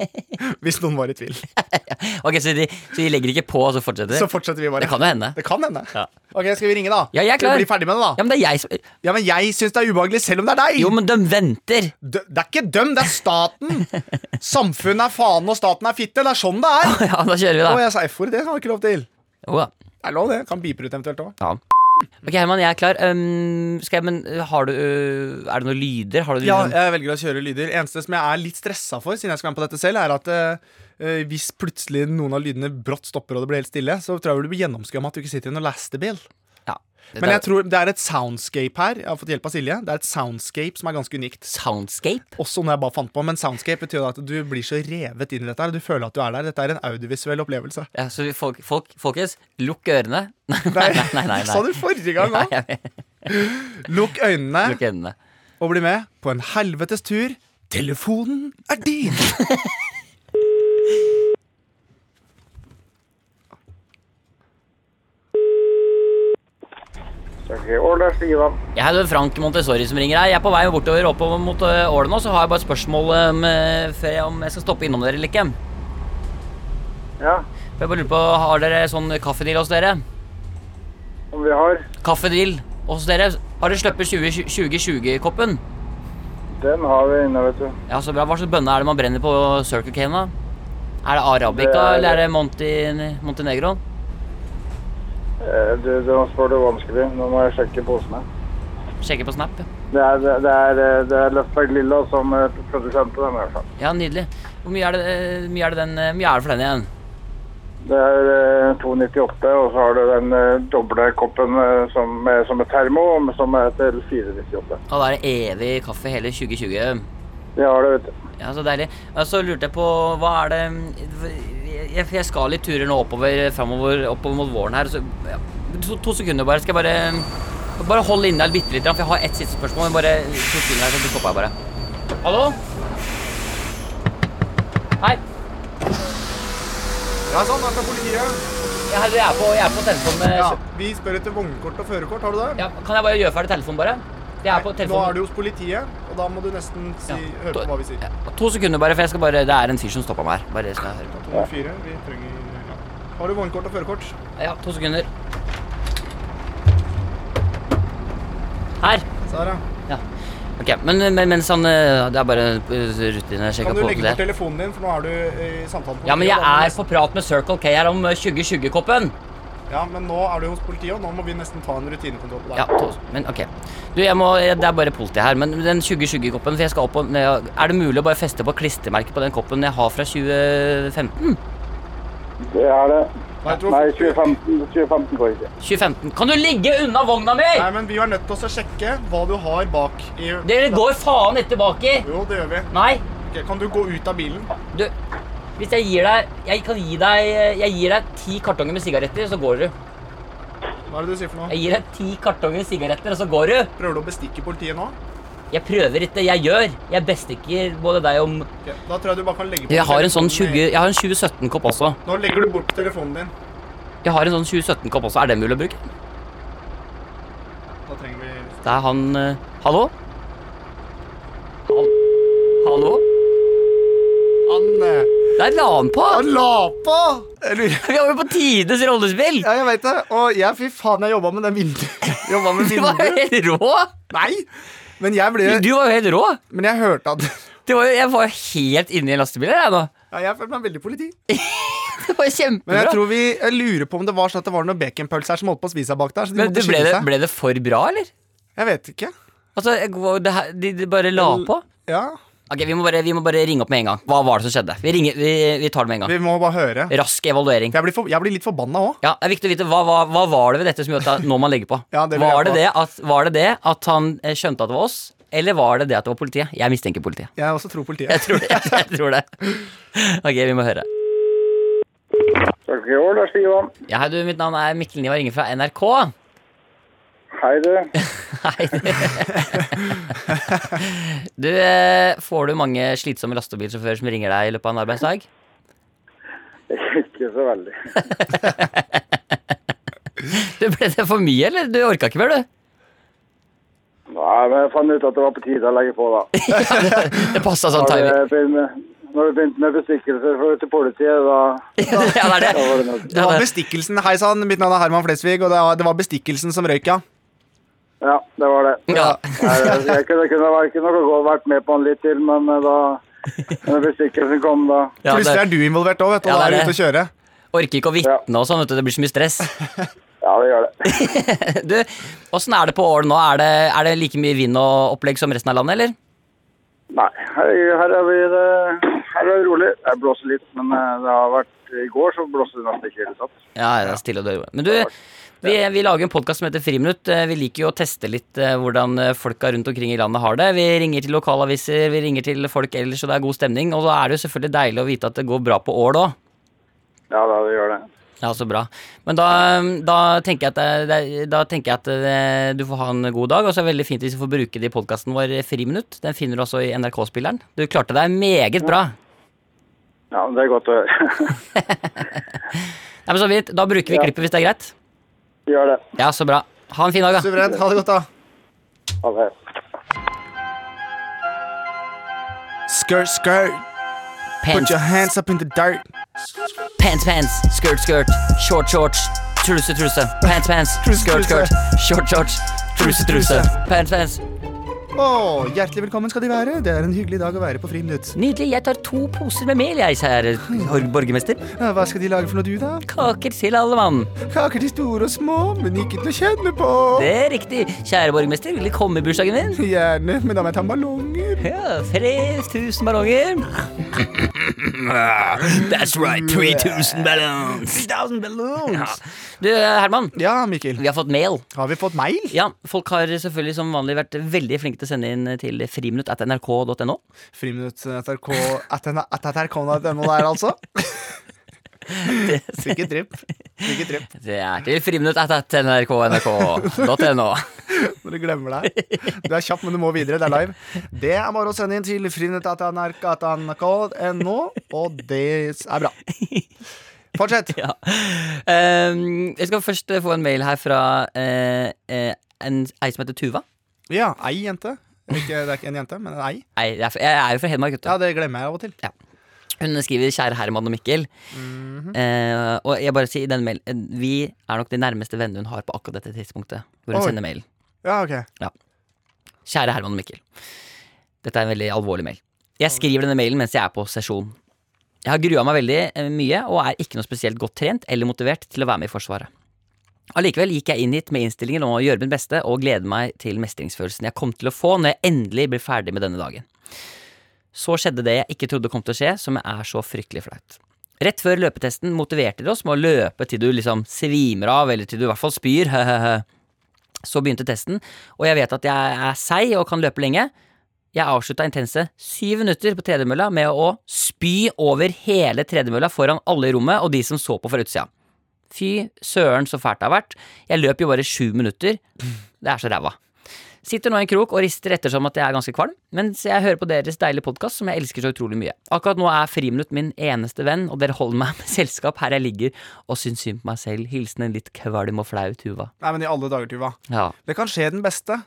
C: Hvis noen var i tvil.
B: Ok, Så de, så de legger ikke på, og så fortsetter de?
C: Så fortsetter vi bare.
B: Det kan jo hende.
C: Det kan hende.
B: Ja.
C: Ok, skal vi ringe, da?
B: Ja, jeg er
C: Skal
B: klar.
C: vi bli ferdig med det,
B: Ja,
C: da?
B: men det er jeg som
C: Ja, men jeg syns det er ubehagelig, selv om det er deg.
B: Jo, men de venter.
C: Dø- Det er ikke døm, det er staten. Samfunnet er faen, og staten er fitte. Det er sånn det er.
B: Ja, da kjører vi,
C: Å,
B: da.
C: jeg sa F-ord. Det har jeg ikke lov til.
B: Jo da.
C: Det er lov, det. Kan beeper ut eventuelt òg.
B: Ja. Ok, Herman, jeg er klar. Um, skal jeg, men har du øh, Er det noen lyder? Har du
C: Ja,
B: liksom-
C: jeg velger å kjøre lyder. Eneste som jeg er litt stressa for, siden jeg skal være med på dette selv, er at eh, eh, hvis plutselig noen av lydene brått stopper og det blir helt stille, så tror jeg du blir gjennomskumma at du ikke sitter i noen lastebil.
B: ja.
C: Men jeg tror det er et soundscape her. Jeg har fått hjelp av Silje. Det er et soundscape som er ganske unikt.
B: Soundscape?
C: Også noe jeg bare fant på, men soundscape betyr jo at du blir så revet inn i dette her. Du føler at du er der. Dette er en audiovisuell opplevelse.
B: Ja, så vi- folk, folk, folkens, lukk ørene. Nei,
C: Nei,
B: nei, nei. nei,
C: Sa du forrige gang òg?
B: jeg vet.
C: Lukk øynene
B: Lukk øynene.
C: og bli med på en helvetes tur. Telefonen er din!
D: Okay, Årlers Ivan.
B: Jeg er Frank Montessori som ringer her. Jeg er på vei bortover oppover mot øh, Ålen nå, så har jeg bare et spørsmål um, øh, før jeg, om jeg skal stoppe innom dere eller ikke.
D: Ja,
B: For Jeg bare lurer på, Har dere sånn kaffedeal hos dere?
D: om vi har.
B: Kaffedeal hos dere? Har dere sluppet 2020-koppen?
D: Den har vi inne, vet du.
B: Ja, så bra. Hva slags bønne er det man brenner på Circle K, da? Er det arabica,
D: Det er-
B: eller er det Monti- Montenegro?
D: Eh, Du, du spør det vanskelig. Nå må jeg sjekke posene.
B: Sjekker på Snap. ja.
D: Det er, det det er, eh, det er Løftberg Lilla som eh, produsent på den. i hvert fall.
B: Ja, nydelig. Hvor mye er det, eh, mye er det, den, eh, mye er det for den igjen?
D: Det er eh, 298, og så har du den eh, doble koppen eh, som, eh, som er termo, og som er til 498.
B: Ja, da er det evig kaffe hele 2020.
D: Det har du, vet du.
B: Ja, så deilig. Ja, så lurte jeg på, hva er det Jeg, jeg skal litt turer nå oppover, framover, oppover mot våren her. Så, ja, to, to sekunder bare. Skal jeg bare Bare hold inne der bitte litt, for jeg har ett siste spørsmål. men Bare to sekunder her, så stopper jeg bare. Hallo? Hei.
C: Ja, sånn, da skal politiet
B: Jeg, herre, jeg er på, jeg er på telefon med
C: Ja, vi spør etter vognkort og førerkort. Har du det?
B: ja, Kan jeg bare gjøre ferdig telefonen, bare? Jeg er på
C: Nå er
B: telefonen.
C: du hos politiet, og da må du nesten si,
B: Ja.
C: høre på hva vi sier.
B: Ja, to sekunder, bare, for jeg skal bare Det er en fyr som stoppa meg her. Bare det skal jeg høre på.
C: 204, vi trenger ja. Har du vognkort og førerkort?
B: Ja, to sekunder. Her.
C: Sara,
B: Ja. Ok, men, men mens han eh, Det er bare eh, rutine. Sjekka
C: kan du
B: på
C: legge bort
B: det.
C: telefonen din, for nå er du eh, i samtale med
B: Ja, men
C: politiet,
B: jeg
C: og da må du
B: er
C: nesten-
B: på prat med Circle K her om eh, 2020-koppen.
C: Ja, men nå er du hos politiet, og nå må vi nesten ta en rutinekontroll på deg.
B: Ja, to, men ok. Du, jeg må jeg- Det er bare politi her. Men den 2020-koppen, for jeg skal opp og ned Er det mulig å bare feste på klistremerket på den koppen jeg har fra 2015?
D: Det er det.
C: Nei, jeg tror-
D: Nei, 2015, 2015 går ikke.
B: 2015. Kan du ligge unna vogna mi?!
C: Nei, men vi er nødt til å sjekke hva du har bak i
B: Dere går faen ikke tilbake!
C: Jo, det gjør vi.
B: Nei,
C: Ok, kan du gå ut av bilen?
B: du. Hvis jeg gir deg Jeg kan gi deg Jeg gir deg ti kartonger med sigaretter, så går du.
C: Hva er det du sier for noe?
B: Jeg gir deg ti kartonger sigaretter, og så går du.
C: Prøver du å bestikke politiet nå?
B: Jeg prøver ikke, jeg gjør. Jeg bestikker både deg om
C: Ok, Da tror jeg du bare kan legge bort
B: Jeg har en sånn 20,
C: telefonen
B: jeg har en 2017-kopp også.
C: i- Nå legger du bort telefonen din.
B: Jeg har en sånn 2017-kopp også. Er den mulig å bruke?
C: Da trenger vi
B: Det er han eh, Hallo? Hal Hallo?
C: Anne!
B: Der la han på!
C: Han la på! Jeg lurer
B: Vi har jo på tidenes rollespill!
C: Ja, jeg vet det. Og jeg, fy faen, jeg jobba med den vinduet. Jobba med
B: Du var jo
C: vinduet.
B: helt rå!
C: Nei! Men jeg ble
B: Du var jo helt rå!
C: Men jeg hørte at
B: Det var jo, jeg var jo helt inne i lastebilen, jeg nå.
C: Ja, jeg følte meg veldig politi.
B: Det var
C: Men jeg
B: kjempebra.
C: tror vi jeg lurer på om det var sånn at det var noen baconpølse her som holdt på å spise seg bak der. Så de
B: Men
C: måtte
B: det ble,
C: skynde
B: det,
C: seg.
B: ble det for bra, eller?
C: Jeg vet ikke.
B: Altså, jeg, det her, de, de bare la på?
C: Ja.
B: Ja, Ok, vi må, bare, vi må bare ringe opp med en gang. Hva var det som skjedde? Vi, ringer, vi, vi tar det med en gang.
C: Vi må bare høre.
B: Rask evaluering.
C: Jeg blir, for, jeg blir litt forbanna òg.
B: Ja, det er viktig å vite Hva, hva, hva var det ved dette som gjorde at nå man legger på?
C: Ja, det vil jeg
B: var, det
C: på.
B: det at, var det det at han eh, skjønte at det var oss, eller var det det at det var politiet? Jeg mistenker politiet.
C: Jeg også tror politiet.
B: Jeg tror det. Jeg tror det. Ok, vi må høre.
D: Takk i år, det er Stig Johan.
B: Ja, hei du, mitt navn er Mikkel Niva, ringer fra NRK.
D: Hei, du.
B: Hei. Du, eh, får du mange slitsomme lastebilsjåfører som ringer deg i løpet av en arbeidsdag?
D: Ikke så veldig.
B: Du, ble det for mye, eller? Du orka ikke mer, du?
D: Nei, men jeg fant ut at det var på tide å legge på, da.
B: Det passa sånn
D: Når
B: timing.
D: det begynner- når det begynte med bestikkelser for- til politiet, da,
B: Ja, det er
D: da
B: det.
D: var det nok.
C: Det var bestikkelsen. Hei sann, mitt navn er Herman Flesvig, og det var, det var bestikkelsen som røyk, ja.
D: Ja, det var det.
B: Ja.
D: Nei, Jeg, jeg kunne, kunne, vært- kunne nok godt vært med på en litt til, men eh, da når bestikkelsen kom, da
B: Ja,
C: Plutselig
B: det
C: er du involvert òg, vet du.
B: Ja,
C: Og da
B: det
C: er
B: er
C: du ute å kjøre.
B: orker ikke å vitne og sånn, vet du. Det blir så mye stress.
D: Ja, det gjør det.
B: Du, åssen er det på Ål nå? Er det, er det like mye vind og opplegg som resten av landet, eller?
D: Nei, her, her, er vi, eh, her er det rolig. Det blåser litt, men eh, det har vært I går så blåste det nesten ikke i det hele tatt.
B: Ja, det er stille og død. Men du, vi, vi lager en podkast som heter Friminutt. Eh, Vi liker jo å teste litt eh, hvordan eh, folka rundt omkring i landet har det. Vi ringer til lokalaviser, vi ringer til folk ellers, og det er god stemning. Og da er det jo selvfølgelig deilig å vite at det går bra på Ål òg.
D: Ja, da, det gjør det.
B: Ja, så bra. Men da, da tenker jeg at, det, det- da tenker jeg at eh, du får ha en god dag. Og så er det veldig fint hvis du får bruke det i podkasten vår eh, Friminutt. Den finner du også i NRK-spilleren. Du klarte deg meget bra.
D: Ja, Det er godt å høre.
B: Nei, men så vidt, Da bruker vi
D: Ja.
B: klippet hvis det er greit.
D: gjør det.
B: Ja, så bra. Ha en fin dag, da.
C: Suverent. Ha det godt, da.
D: Ha det.
C: Skør, skør. Put
B: Pent.
C: your hands up in the dirt.
B: Pants, pants, skirt, skirt, short, shorts, truse, truse. Pants, pants, skirt, skirt, short, shorts, truse, truse. Pants, pants.
C: Å, hjertelig velkommen skal de være. Det er en hyggelig dag å være på Friminutt.
B: Nydelig. Jeg tar to poser med mel, jeg, kjære bor- borgermester.
C: Ja, Hva skal de lage for noe, du, da?
B: Kaker til alle mann.
C: Kaker til store og små, men ikke til å kjenne på.
B: Det er riktig. Kjære borgermester, vil du komme i bursdagen min?
C: Gjerne, men da må jeg ta ballonger.
B: Ja, 3000 ballonger. That's right, 3000 balloons.
C: 1000 balloons.
B: Du, Herman,
C: Ja, Mikkel.
B: vi har fått mail.
C: Har vi fått mail?
B: Ja, folk har selvfølgelig som vanlig vært veldig flinke til å sende inn til friminutt.nrk.no.
C: Friminutt eh, NRK at NRK.no der, altså. Sikkert tripp. Sikkert tripp.
B: Det er til friminutt etter nrk.nrk.no.
C: Når du glemmer deg. Du er kjapp, men du må videre. Det er live. Det er bare å sende inn til friminutt at NRK at NRK.no, og det er bra. Fortsett.
B: Ja. Ehm, jeg skal først eh, få en mail her fra eh, eh, en, ei som heter Tuva.
C: Ja, ei jente. Ikke, det er ikke en jente, men en ei.
B: Ei, jeg er fra- jeg er jo fra Hedmark, vet du.
C: Ja, det glemmer jeg av og til.
B: Hun skriver 'Kjære Herman og Mikkel'.
C: Mhm.
B: Eh, og jeg bare sier i denne mailen eh, Vi er nok de nærmeste vennene hun har på akkurat dette tidspunktet. Hvor hun
C: Oi.
B: sender mail.
C: Ja, ok.
B: Kjære Herman og Mikkel. Dette er en veldig alvorlig mail. Jeg skriver denne mailen mens jeg er på sesjon. Jeg har grua meg veldig eh, mye og er ikke noe spesielt godt trent eller motivert til å være med i Forsvaret. Allikevel gikk jeg inn hit med innstillingen om å gjøre mitt beste og glede meg til mestringsfølelsen jeg kom til å få når jeg endelig blir ferdig med denne dagen. Så skjedde det jeg ikke trodde kom til å skje, som er så fryktelig flaut. Rett før løpetesten motiverte de oss med å løpe til du liksom svimer av, eller til du i hvert fall spyr. Så begynte testen, og jeg vet at jeg er seig og kan løpe lenge. Jeg avslutta intense syv minutter på tredemølla med å spy over hele tredemølla foran alle i rommet og de som så på fra utsida. Fy søren så fælt det har vært. Jeg løp jo bare sju minutter. Det er så ræva. Sitter nå i en krok og rister ettersom at jeg er ganske kvalm, mens jeg hører på deres deilige podkast som jeg elsker så utrolig mye. Akkurat nå er Friminutt min eneste venn, og dere holder meg med selskap her jeg ligger og syns synd på meg selv. Hilsen en litt kvalm og flau Tuva.
C: Nei, men i alle dager, Tuva.
B: Ja.
C: Det kan skje den beste.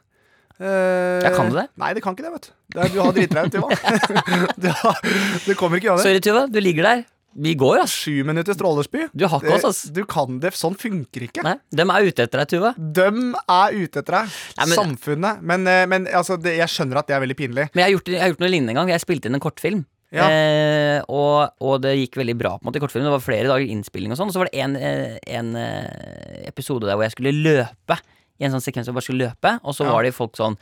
C: Eh,
B: Ja, kan det det?
C: Nei, det kan ikke det, vet du. Det er, du har dritbrev, Tuva. du, har- du kommer ikke gjennom det.
B: Sorry, Tuva. Du ligger der. Vi går, altså. ass.
C: Sju minutter strålespy.
B: Du har ikke oss, ass.
C: Det- Du kan det. Sånn funker ikke.
B: Nei, dem er ute etter deg, Tuva.
C: Døm er ute etter deg.
B: Nei, men-
C: Samfunnet. Men, eh, men altså, det, jeg skjønner at det er veldig pinlig.
B: Men jeg har gjort, jeg har gjort noe lignende en gang. Jeg spilte inn en kortfilm.
C: Ja.
B: Eh, og, og det gikk veldig bra på en måte i kortfilmen. Det var flere dager innspilling og sånn. Og så var det en, eh, en eh, episode der hvor jeg skulle løpe. I en sånn sekvens hvor jeg bare skulle løpe. Og så
C: Ja.
B: var det folk sånn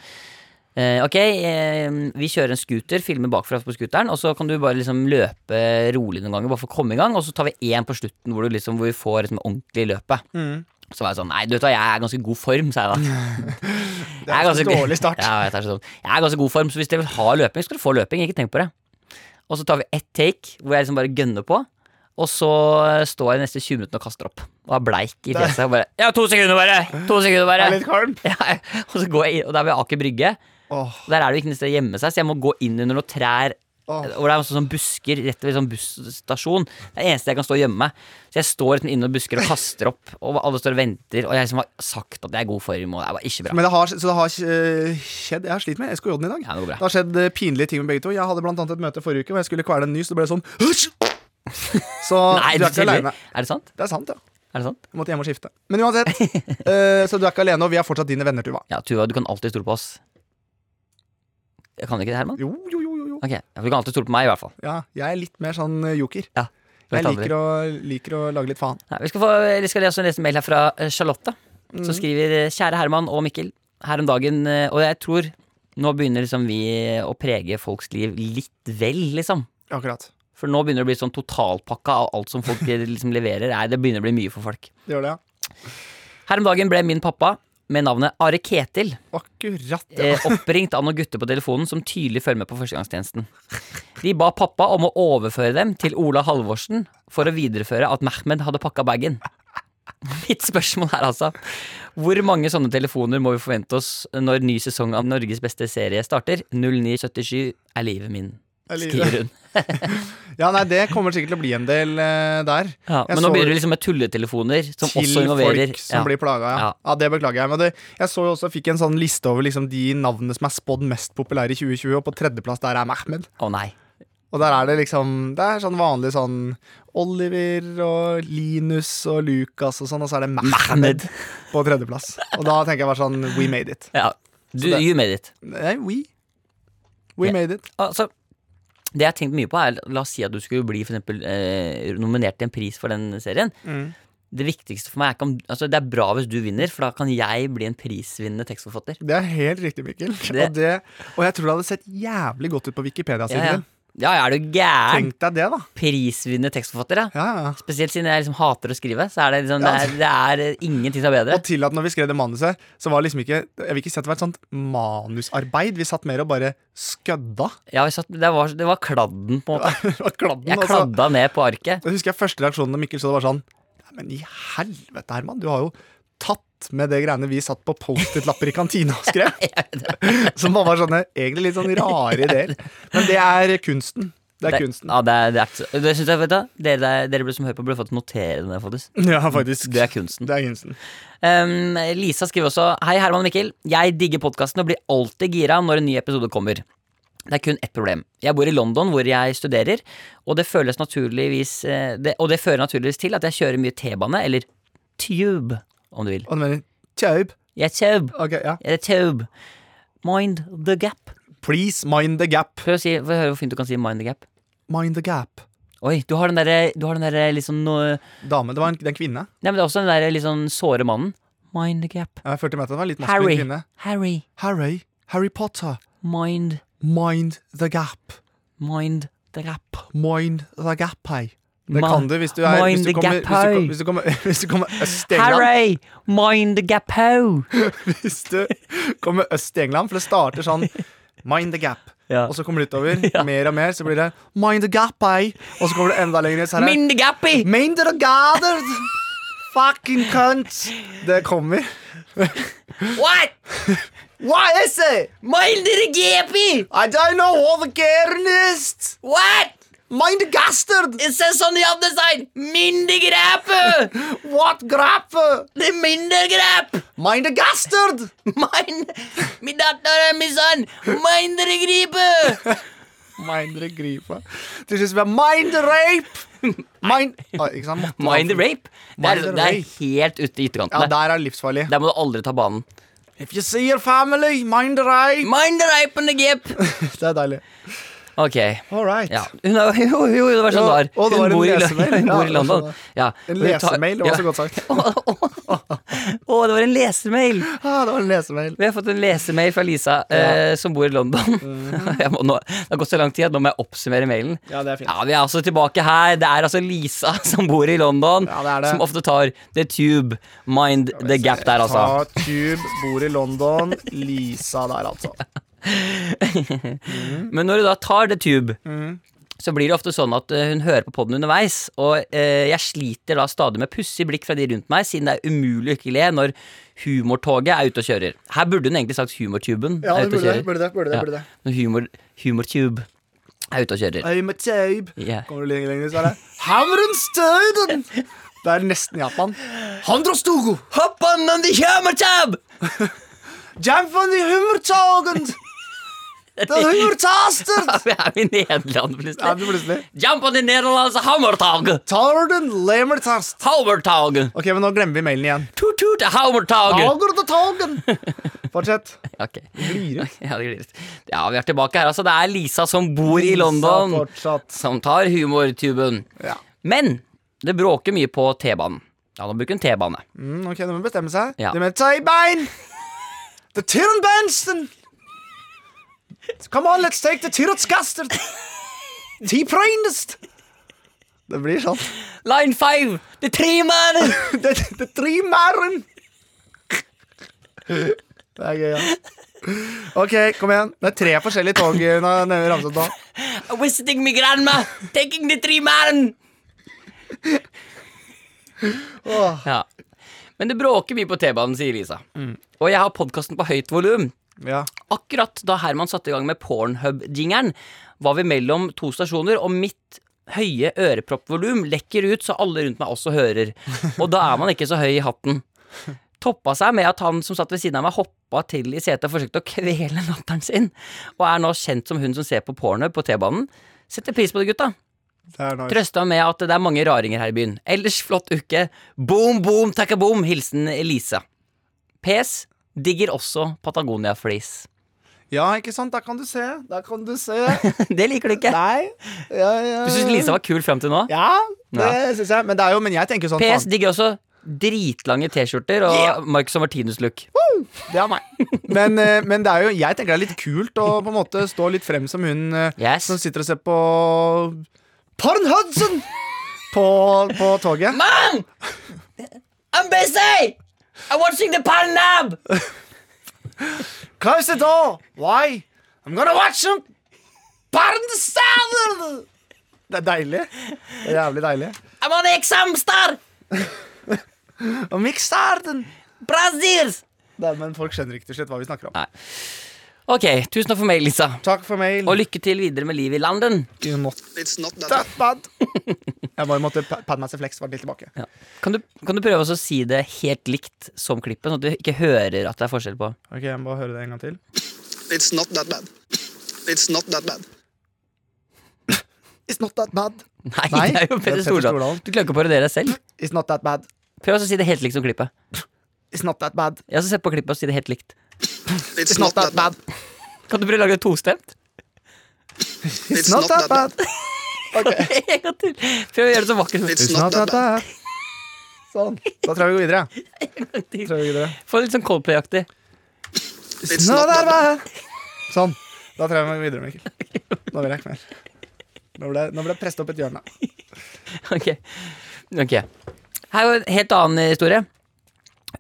B: Eh, ok, eh, vi kjører en scooter, filmer bakfra på scooteren, og så kan du bare liksom løpe rolig noen ganger, bare for å komme i gang, og så tar vi én på slutten hvor, du liksom, hvor vi får liksom ordentlig løpet.
C: Mm.
B: Så var jeg sånn Nei, du vet hva, jeg er i ganske god form, sa jeg da.
C: Det er en
B: ganske-
C: dårlig start.
B: Ja, jeg, vet, det er sånn. jeg er i ganske god form, så hvis dere vil ha løping, skal dere få løping. Ikke tenk på det. Og så tar vi ett take hvor jeg liksom bare gønner på. Og så står jeg de neste 20 minuttene og kaster opp. Og er bleik i fjeset. Og bare Ja, to sekunder bare! To sekunder
C: Det
B: bare!
C: er litt kvalmt.
B: Ja, og så går jeg inn, og der ved Aker Brygge.
C: Åh,
B: Og Der er det jo ikke noe sted å gjemme seg, så jeg må gå inn under noen trær.
C: åh.
B: Hvor det er sånn sånn busker rett ved sånn busstasjon. Det er det eneste jeg kan stå og gjemme meg. Så jeg står liksom inne og busker og kaster opp, og alle står og venter. Og jeg liksom har sagt at jeg er i god form, og det var ikke bra.
C: Men det har, så det har eh, skjedd Jeg har slitt med SKJ-en i dag.
B: Ja, det går bra.
C: har skjedd eh, pinlige ting med begge to. Jeg hadde blant annet et møte forrige uke hvor jeg skulle kvele en ny, så det ble sånn «Hysj!» Så
B: Nei,
C: du er ikke
B: tuller.
C: aleine.
B: Er det sant?
C: Det er sant, ja.
B: Er det sant?
C: Jeg måtte hjem og skifte. Men uansett, eh, så du er ikke alene, og vi er fortsatt dine venner, Tuva.
B: Ja, Tuva, du kan alltid stole på oss. Jeg kan ikke det, Herman?
C: Jo, jo, jo, jo, jo.
B: Ok, ja, Du kan alltid stole på meg, i hvert fall.
C: Ja, jeg er litt mer sånn eh, joker.
B: Ja, du vet
C: Jeg
B: aldri.
C: liker å, liker å lage litt faen.
B: Nei, vi skal, få, vi skal lese, lese en mail her fra eh, Charlotte. Som
C: Mm.
B: skriver eh, Kjære Herman og Mikkel. Her om dagen eh, Og jeg tror nå begynner liksom vi å prege folks liv litt vel, liksom.
C: Akkurat.
B: For nå begynner det å bli sånn totalpakka av alt som folk eh, liksom leverer. Nei, det begynner å bli mye for folk.
C: Det gjør det, ja.
B: Her om dagen ble min pappa med navnet Are Ketil
C: Akkurat, ja.
B: eh, oppringt av noen gutter på telefonen som tydelig følger med på førstegangstjenesten. De ba pappa om å overføre dem til Ola Halvorsen for å videreføre at Mehmed hadde pakka bagen. Mitt spørsmål er altså hvor mange sånne telefoner må vi forvente oss når ny sesong av Norges beste serie starter? 0977 er livet min,
C: Er livet.
B: skriver hun.
C: ja. Nei, det kommer sikkert til å bli en del eh, der.
B: Ja,
C: Jeg
B: men nå
C: så-
B: begynner det liksom med tulletelefoner som
C: til
B: også involverer
C: folk
B: ja.
C: som blir plaga. Ja.
B: Ja.
C: Ja. det beklager jeg. Men det, jeg så jo også fikk en sånn liste over liksom, de navnene som er spådd mest populære i 2020, og på tredjeplass der er Mehmed.
B: Å nei.
C: Og der er det liksom Det er sånn vanlig sånn Oliver og Linus og Lucas og sånn, og så er det Mehmed
B: Mehmed.
C: på tredjeplass. Og da tenker jeg bare sånn We made it.
B: Ja. Du,
C: det-
B: you made it.
C: Nei, we. We
B: Ja.
C: made it.
B: Altså, det jeg har tenkt mye på er La oss si at du skulle bli for eksempel, eh, nominert til en pris for den serien.
C: Mm.
B: Det viktigste for meg er ikke om altså, Det er bra hvis du vinner, for da kan jeg bli en prisvinnende tekstforfatter.
C: Det er helt riktig, Mikkel.
B: Det-
C: Og, det, og jeg tror det hadde sett jævlig godt ut på
B: Ja,
C: Wikipedia-siden
B: ja.
C: din.
B: ja, ja er du gæren?
C: Tenk deg det, da.
B: Prisvinnende tekstforfatter, ja.
C: Ja, ja.
B: Spesielt siden jeg liksom hater å skrive. Så er det, liksom, det, er, det er eh, ingenting som er bedre.
C: Og til at når vi skrev det manuset, så var det liksom ikke Jeg vil ikke si at det var et sånt manusarbeid. Vi satt mer og bare skødda.
B: Ja, vi satt, det, var, det var kladden, på en måte.
C: og kladden,
B: Jeg
C: og så-
B: kladda ned på arket.
C: Jeg husker jeg første reaksjonen når Mikkel så det var sånn Nei, men i helvete, Herman. Du har jo tatt med det greiene vi satt på Post-It-lapper i kantina og skrev. Som bare var sånne egentlig litt sånn rare ideer. Men det er kunsten. Det er kunsten.
B: Ja, det, er- det, er ikke så- det synes jeg, vet du, dere, der- dere som hører på, burde fått notere det, faktisk.
C: Ja, faktisk.
B: Det er kunsten.
C: Det er kunsten.
B: Um, Lisa skriver også Hei Herman og Mikkel, jeg digger podkasten og blir alltid gira når en ny episode kommer. Det er kun ett problem. Jeg bor i London hvor jeg studerer, og det, føles naturligvis, eh, det, og det fører naturligvis til at jeg kjører mye T-bane, eller tube, om du vil.
C: Og du mener Tjaub.
B: Jeg tube.
C: Ok, ja.
B: Jeg er tube. Mind the gap.
C: Please mind the gap.
B: Prøv å si, få høre hvor fint du kan si mind the gap.
C: Mind the gap.
B: Oi, du har den derre du har den derre litt sånn eh,
C: Dame. Det var en, det er en kvinne.
B: Nei, men det er også den derre litt sånn såre mannen. Mind the gap.
C: Jeg følte meg at det var en litt maskulin
B: Harry.
C: kvinne.
B: Harry.
C: Harry, Harry Potter,
B: Mind.
C: mind the gap.
B: Mind the gap.
C: Mind the gap, hei. Det
B: Ma-
C: kan du hvis du er
B: mind
C: hvis du
B: the
C: kommer,
B: gap,
C: hvis du,
B: hei.
C: kom- hvis du kommer, hvis du kommer øst i England.
B: Harry, mind the gap ho!
C: Hvis du kommer øst i England, for det starter sånn Mind the gap.
B: Ja.
C: Og så kommer det utover, mer og mer, så blir det Mind the gap, hei. Og så kommer det enda lenger ned, så er det
B: Mind the gappy!
C: Mind the gather! Fucking cunt! Det kommer.
B: What?
C: Why is it?
B: Mind the gappy!
C: I don't know what the garen is!
B: What?
C: Mind the gastard!
B: It says on the other side, mind the grappe!
C: What grappe?
B: The mind the grap!
C: Mind the gastard!
B: Mind Min datter og min sønn, mind the gripe!
C: Mindre gripa. Til slutt blir mind rape! Mind Å, Ikke sant? Måtte
B: Mind the
C: være-
B: rape? Det er,
C: Mind the
B: det er
C: rape.
B: helt ute i
C: Ja,
B: ytterkantene.
C: der er det livsfarlig.
B: Der må du aldri ta banen.
C: If you see your family, mind rape!
B: Mind the rape and the gap!
C: Det er deilig.
B: Ok.
C: All right.
B: Ja. Hun er, jo, jo, det var sånn
C: Ja,
B: det
C: og
B: var. Hun
C: det var en
B: bor i, Lo-
C: lesemail.
B: hun
C: Ja,
B: bor
C: det
B: i
C: var
B: London.
C: sånn det.
B: Ja.
C: En
B: Hun tar-
C: lesemail, det var
B: ja.
C: så godt sagt.
B: Å, å, å, det var en lesemail!
C: Ah, det var en lesemail.
B: Vi har fått en lesemail fra Lisa, eh, som bor i London. Jeg må nå, det har gått så lang tid at nå må jeg oppsummere mailen.
C: Mhm. Ja, det er fint.
B: Ja, Vi er altså tilbake her. Det er altså Lisa som bor i London,
C: Ja, det er det.
B: som ofte tar The Tube. Mind the gap der, altså.
C: Ta Tube, bor i London. Lisa der, altså.
B: Men når du da tar The Tube,
C: Mm.
B: så blir det ofte sånn at eh, hun hører på poden underveis. Og eh, jeg sliter da stadig med pussig blikk fra de rundt meg, siden det er umulig å ikke le når humortoget er ute og kjører. Her burde hun egentlig sagt Humortuben.
C: Ja,
B: er ute og
C: det burde det.
B: kjører.
C: Burde det, burde det,
B: Ja.
C: burde det.
B: Når Humor, humortube er ute og kjører.
C: I'm a tube.
B: Ja.
C: Kommer du lenger lenger, så er det Hamrenstøyden! Det er nesten Japan. Handrostogo!
B: Hopp on on the humortub!
C: Jam van de hummertogen! Det er hummertastert!
B: Vi er i Nederland,
C: Ja, det
B: plutselig.
C: er plutselig.
B: Jump on the Nederlandse hammertag!
C: Tarden lemertast.
B: Hammertag!
C: Ok, men nå glemmer vi mailen igjen.
B: Tut-tut, hammertag!
C: Tager det tagen! Fortsett.
B: Ok.
C: Blir ut.
B: Ja, det blir litt- ja, vi er tilbake her, altså. Det er Lisa som bor i London,
C: Lisa Fortsatt.
B: som tar humortuben.
C: Ja.
B: Men det bråker mye på T-banen. Ja, nå bruker hun T-bane.
C: Mm, ok, nå må hun bestemme seg.
B: Ja.
C: Det med tøybein! The Tirrenbensten! Come on, let's take the Tirretskaster! Tipreinest! Det blir sånn.
B: Line five! Det er tre mann!
C: Det, det trimæren! Det er gøy, ja. Ok, kom igjen. Det er tre forskjellige tog eh, hun har nevnt ramset nå.
B: Visiting me grandma! Taking the three man!
C: Åh.
B: Ja. Men det bråker mye på T-banen, sier Lisa. Og jeg har podkasten på høyt volum.
C: Ja.
B: Akkurat da Herman satte i gang med Pornhub-jingeren, var vi mellom to stasjoner, og mitt høye øreproppvolum lekker ut så alle rundt meg også hører. Og da er man ikke så høy i hatten. Toppa seg med at han som satt ved siden av meg, hoppa til i setet og forsøkte å kvele latteren sin, og er nå kjent som hun som ser på pornhub på T-banen. Setter pris på det, gutta.
C: Det er nice.
B: Trøsta med at det er mange raringer her i byen. Ellers flott uke. Boom, boom, takka boom. Hilsen Elisa. PS. Digger også Patagonia-flis.
C: Ja, ikke sant? Der kan du se. Der kan du se.
B: Det liker du ikke.
C: Nei. Ja, ja.
B: Du syns Lisa var kul fram til nå?
C: Ja, det
B: Ja.
C: syns jeg. Men det er jo, men jeg tenker sånn
B: PS digger også dritlange T-skjorter og Marcus og Martinus-look.
C: Det er meg. Men, eh, men det er jo, jeg tenker det er litt kult å på en måte stå litt frem som hun eh,
B: Yes.
C: som sitter og ser på Porn Hudson på, på toget.
B: Man! I'm busy! I'm watching the Panab!
C: Close the door! Why? I'm gonna watch some porn salad! Det er deilig. Det er jævlig deilig.
B: I'm on the exam star!
C: Og mix starten!
B: Brazils!
C: Det er, men folk skjønner ikke til slutt hva vi snakker om.
B: Ok, tusen takk for meg, Lisa.
C: Takk for mail.
B: Og lykke til videre med livet i landen.
C: You not- that bad. Jeg bare måtte pa- padde meg til flex, var litt tilbake.
B: Ja. Kan, du, kan du prøve også å si det helt likt som klippet, sånn at du ikke hører at det er forskjell på
C: Ok, jeg må bare høre det en gang til.
E: It's not that bad. It's not that bad.
C: It's not that bad.
B: Nei,
C: Nei,
B: det er jo
C: det er
B: Peder
C: Petter
B: Stordalen.
C: Stordalen.
B: Du klarer ikke å parodiere deg selv.
C: It's not that bad.
B: Prøv også å si det helt likt som klippet.
C: It's not that bad.
B: Jeg har også sett på klippet og si det helt likt.
E: It's not that bad.
B: Kan du prøve å lage det tostemt?
E: It's not that bad.
B: En gang til. Prøv å gjøre det så vakkert som
E: It's
C: It's not that bad. Sånn. Da tror jeg vi går videre.
B: mulig.
C: Tror jeg vi går videre.
B: Få det litt sånn Coldplay-aktig.
E: It's not that bad.
C: Sånn. Da tror jeg vi går videre, Mikkel. Nå vil jeg ikke mer. Nå ble, nå ble jeg presset opp et hjørne.
B: Ok. Ok. Her er jo en helt annen historie,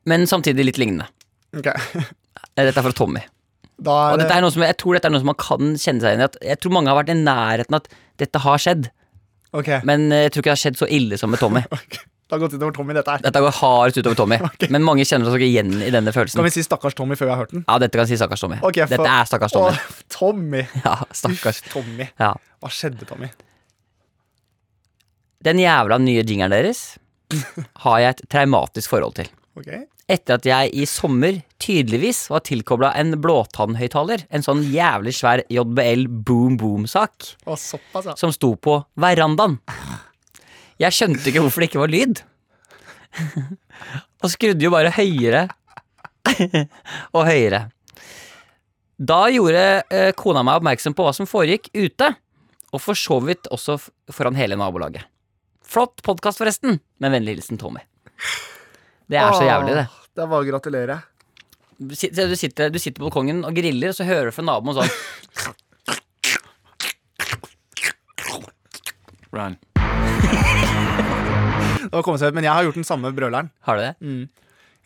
B: men samtidig litt lignende.
C: Ok.
B: Eh, Dette er fra Tommy.
C: Da
B: Og
C: er
B: dette
C: det
B: er noe som, jeg tror dette er noe som man kan kjenne seg igjen i. at- Jeg tror mange har vært i nærheten av at dette har skjedd,
C: Ok.
B: men eh, jeg tror ikke det har skjedd så ille som med Tommy.
C: Det har gått utover Tommy, dette her.
B: Dette går hardest utover Tommy, men mange kjenner seg ikke igjen i denne
C: Kan
B: følelsen.
C: vi si stakkars Tommy før vi har hørt den?
B: Ja, dette kan si stakkars Tommy.
C: Ok, for-
B: Dette er stakkars Tommy.
C: Åh, Tommy.
B: Ja,
C: Uff,
B: stakkars.
C: Tommy.
B: Ja.
C: Hva skjedde, Tommy?
B: Den jævla nye jingeren deres har jeg et traumatisk forhold til.
C: Ok.
B: Etter at jeg i sommer tydeligvis var tilkobla en blåtannhøyttaler. En sånn jævlig svær JBL boom boom-sak
C: Å, såpass, ja.
B: som sto på verandaen. Jeg skjønte ikke hvorfor det ikke var lyd. Og skrudde jo bare høyere og høyere. Da gjorde eh, kona meg oppmerksom på hva som foregikk ute. Og for så vidt også f- foran hele nabolaget. Flott podkast, forresten, med vennlig hilsen Tommy. Det er så jævlig, det.
C: Åh, Det er bare å gratulere.
B: Du sit- Du sitter, du sitter på balkongen og griller, og så hører du fra naboen sånn Run.
C: Det var kommet seg ut, Men jeg har gjort den samme brøleren.
B: Har du det?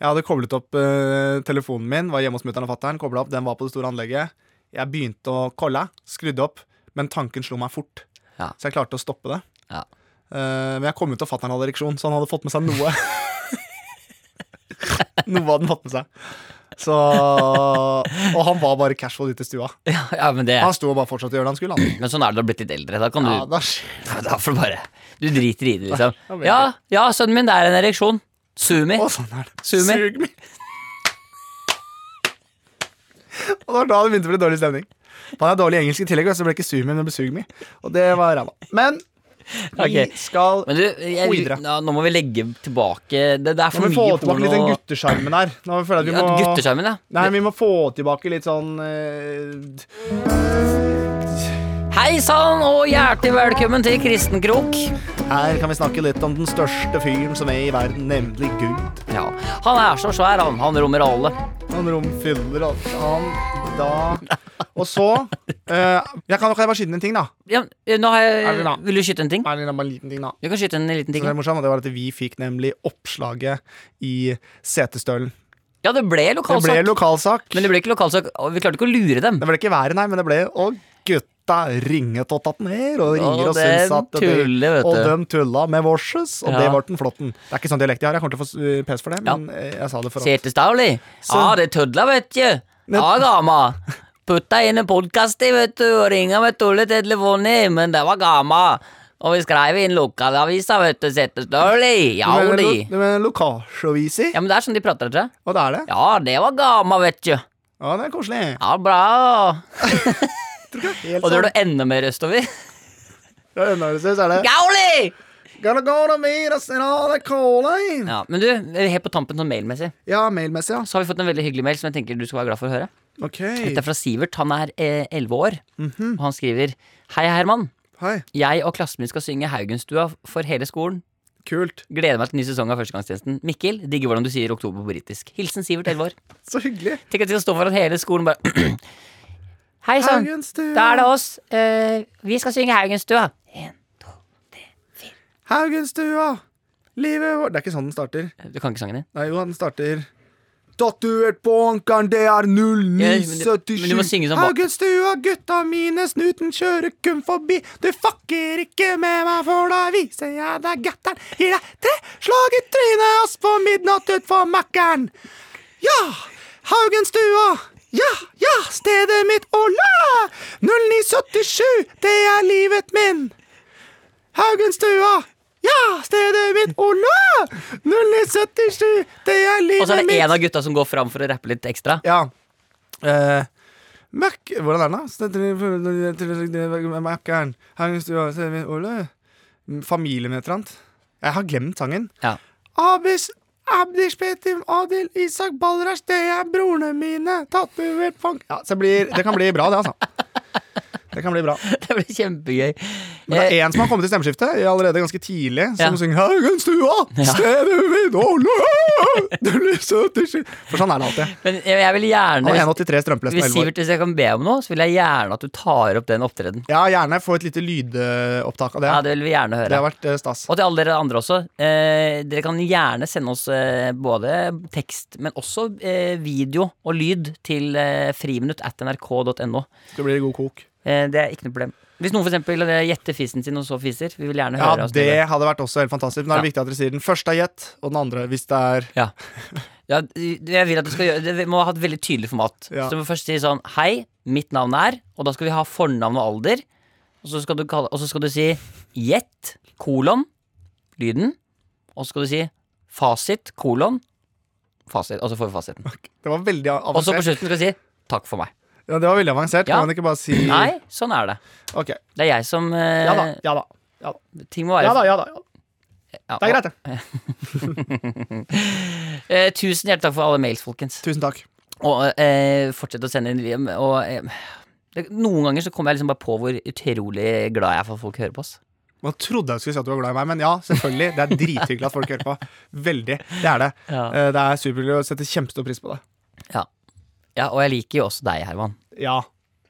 C: Jeg hadde koblet opp eh, telefonen min, var hjemme hos mutter'n og fatter'n, koblet opp, den var på det store anlegget. Jeg begynte å kolle, skrudde opp, men tanken slo meg fort.
B: Ja.
C: Så jeg klarte å stoppe det.
B: Ja.
C: Eh, men jeg kom ut og fatter'n hadde ereksjon, så han hadde fått med seg noe. noe hadde han fått med seg. Så Og han var bare casual ute i stua.
B: Ja, men, det,
C: Han sto og bare fortsatte å gjøre det han skulle. Han.
B: men sånn er det når du har blitt litt eldre. Da kan du
C: Ja, da skjer
B: Ja, Da får du bare Du driter i det, liksom.
C: Da blir det-
B: Ja, ja, sønnen min, det er en ereksjon. Sumi.
C: Å, sånn er det.
B: Sug meg.
C: Sug meg. Og det var da det begynte å bli dårlig stemning. Han er dårlig i engelsk i tillegg, så det ble ikke sug meg, men det ble sug meg. Og det var ræva. Men vi
B: Ok.
C: skal
B: Men du, jeg,
C: Videre.
B: ja, nå må vi legge tilbake Det, det er
C: Nå
B: for
C: må vi få
B: mye
C: tilbake litt den
B: porno.
C: guttesjarmen her. Nå føler jeg
B: Ja,
C: at vi må
B: Guttesjarmen, ja.
C: Nei, vi må få tilbake litt sånn eh,
B: Hei sann, og hjertelig velkommen til Kristenkrok.
C: Her kan vi snakke litt om den største fyren som er i verden, nemlig Gud.
B: Ja, han er så svær, han. Han rommer alle.
C: Han romfyller alt han da Og så eh, Jeg kan, kan jeg bare skyte inn en ting, da?
B: Ja, eh, nå har
C: Er det
B: jeg
C: da?
B: Vil du skyte en ting?
C: Bare en liten ting, da.
B: Du kan skyte en liten
C: Så
B: ting.
C: det, er morsomt, og det var at vi fikk nemlig oppslaget i Setesdølen.
B: Ja, det ble
C: Det
B: lokalsak.
C: ble lokalsak.
B: Men det ble ikke lokalsak. og Vi klarte ikke å lure dem.
C: Det ble ikke været, nei, men det ble Og gutta ringet og tatt ned, og ringer og,
B: Og dem
C: syns at
B: tuller, vet
C: Og
B: du.
C: dem tulla med vorses, og
B: Ja.
C: det ble den flotten. Det er ikke sånn dialekt jeg har, jeg kommer til å få eh, pes for det,
B: Ja.
C: men eh, jeg sa det for at
B: Kjetil Stavli. Ja, det er tødla, vet du. Ja, gamma. Putta inn en podkast i, vet du, og ringa med tullete telefoner, men det var gamma. Og vi skreiv inn lokalavisa, vet du, Kjetil Stavli. Ja,
C: Du mener
B: de.
C: lo- Du mener lokalsjoviser?
B: Ja, men det er sånn de prater, tror jeg.
C: Og det er det?
B: Ja, det var gamma, vet du.
C: Ja, det er koselig.
B: Ja, bra.
C: Helt
B: Og det er
C: sånn.
B: du enda mer østover.
C: Ja, undersøs er det.
B: Gauli!
C: Gotta go to meet us in all the calling.
B: Ja, men du, helt på tampen sånn mailmessig,
C: Ja, mailmessig, ja.
B: så har vi fått en veldig hyggelig mail som jeg tenker du skal være glad for å høre.
C: Ok.
B: Dette er fra Sivert. Han er eh, elleve år,
C: Mhm.
B: og han skriver Hei, Herman.
C: Hei.
B: Jeg og klassen min skal synge Haugenstua for hele skolen.
C: Kult.
B: Gleder meg til ny sesong av Førstegangstjenesten. Mikkel, digger hvordan du sier oktober på britisk. Hilsen Sivert, 11 år.
C: Så hyggelig.
B: Tenk at vi skal stå foran hele skolen bare Hei sann,
C: Haugenstua.
B: da er det oss. Eh, vi skal synge Haugenstua. En.
C: Haugenstua, livet vårt Det er ikke sånn den starter.
B: Du kan ikke sangen din?
C: Nei, jo, den starter Tatuert på ankeren, det er
B: Ja, men du-
C: 0977.
B: men du må synge sånn som ba-
C: Haugenstua, gutta mine, snuten kjører kun forbi. Du fucker ikke med meg, for da viser jeg deg gatteren. Gir deg tre slag i trynet, oss på midnatt utfor Mækkern. Ja, Haugenstua. Ja, ja, stedet mitt. Ola! 0977, det er livet min. Haugenstua! Ja, stedet mitt! Ola! 0977, det er livet mitt!
B: Og så er det en av gutta som går fram for å rappe litt ekstra.
C: Ja. Eh, Møkk Hvordan er den, da? Stedet mitt- Møkkeren. Haugenstua, stedet mitt. Ola! Familien et eller annet. Jeg har glemt sangen.
B: Ja.
C: Abis, Abdish, Petim, Adil, Isak, Balrash, det er brorene mine. Tatuert fang... Ja, så det, blir, det kan bli bra, det, altså. Det kan bli bra.
B: Det blir kjempegøy.
C: Men det
B: Eh,
C: er én som har kommet i stemmeskiftet i allerede ganske tidlig,
B: Ja.
C: som synger 'Haugenstua, stedet mitt Ålå, du lyser til sky-» For sånn er det alltid.
B: Eh, men jeg- jeg vil
C: Han er
B: gjerne
C: 1,83 strømpelest
B: hvis,
C: med 11 år.
B: Sivert, hvis jeg kan be om noe, så vil jeg gjerne at du tar opp den opptredenen.
C: Ja, gjerne få et lite lydopptak av det.
B: Ja, det vil vi gjerne høre.
C: Det har vært eh, stas.
B: Og til alle dere andre også. Eh, dere kan gjerne sende oss eh, både tekst, men også eh, video og lyd til eh, friminutt at nrk.no.
C: Det blir god kok.
B: Eh, det er ikke noe problem. Hvis noen for eksempel eh, gjetter fisen sin og så fiser, vi vil gjerne
C: Ja,
B: høre oss til
C: det hadde vært også helt fantastisk. Men da er det
B: Ja.
C: viktig at dere sier den første er gjett, og den andre hvis det er
B: Ja. ja. Jeg vil at du skal gjøre Det må ha et veldig tydelig format.
C: Ja.
B: Så du må først si sånn Hei, mitt navn er Og da skal vi ha fornavn og alder. Og så skal du, kalle, og så skal du si gjett, kolon, lyden. Og så skal du si fasit, kolon, fasit. Og så får vi fasiten.
C: Det var veldig
B: Og så på
C: avansert.
B: slutten skal du si takk for meg.
C: Ja, det var veldig avansert.
B: Ja.
C: Kan man ikke bare si
B: Nei, sånn er det.
C: Ok.
B: Det er jeg som eh,
C: Mm. Ja da, ja da. Ja da,
B: Ting må være
C: ja da. ja da, ja da.
B: Ja,
C: Det er greit, det.
B: og, eh, tusen hjertelig takk for alle mails, folkens.
C: Tusen takk.
B: Og eh, fortsett å sende inn Og eh, Det, noen ganger så kommer jeg liksom bare på hvor utrolig glad jeg er for at folk hører på oss.
C: Man trodde jeg skulle si at du var glad i meg, men ja, selvfølgelig. Det er drithyggelig at folk hører på. Veldig. Det er det.
B: Ja.
C: Eh, Det er superhyggelig og setter kjempestor pris på det.
B: Ja. ja, og jeg liker jo også deg, Herman.
C: Ja.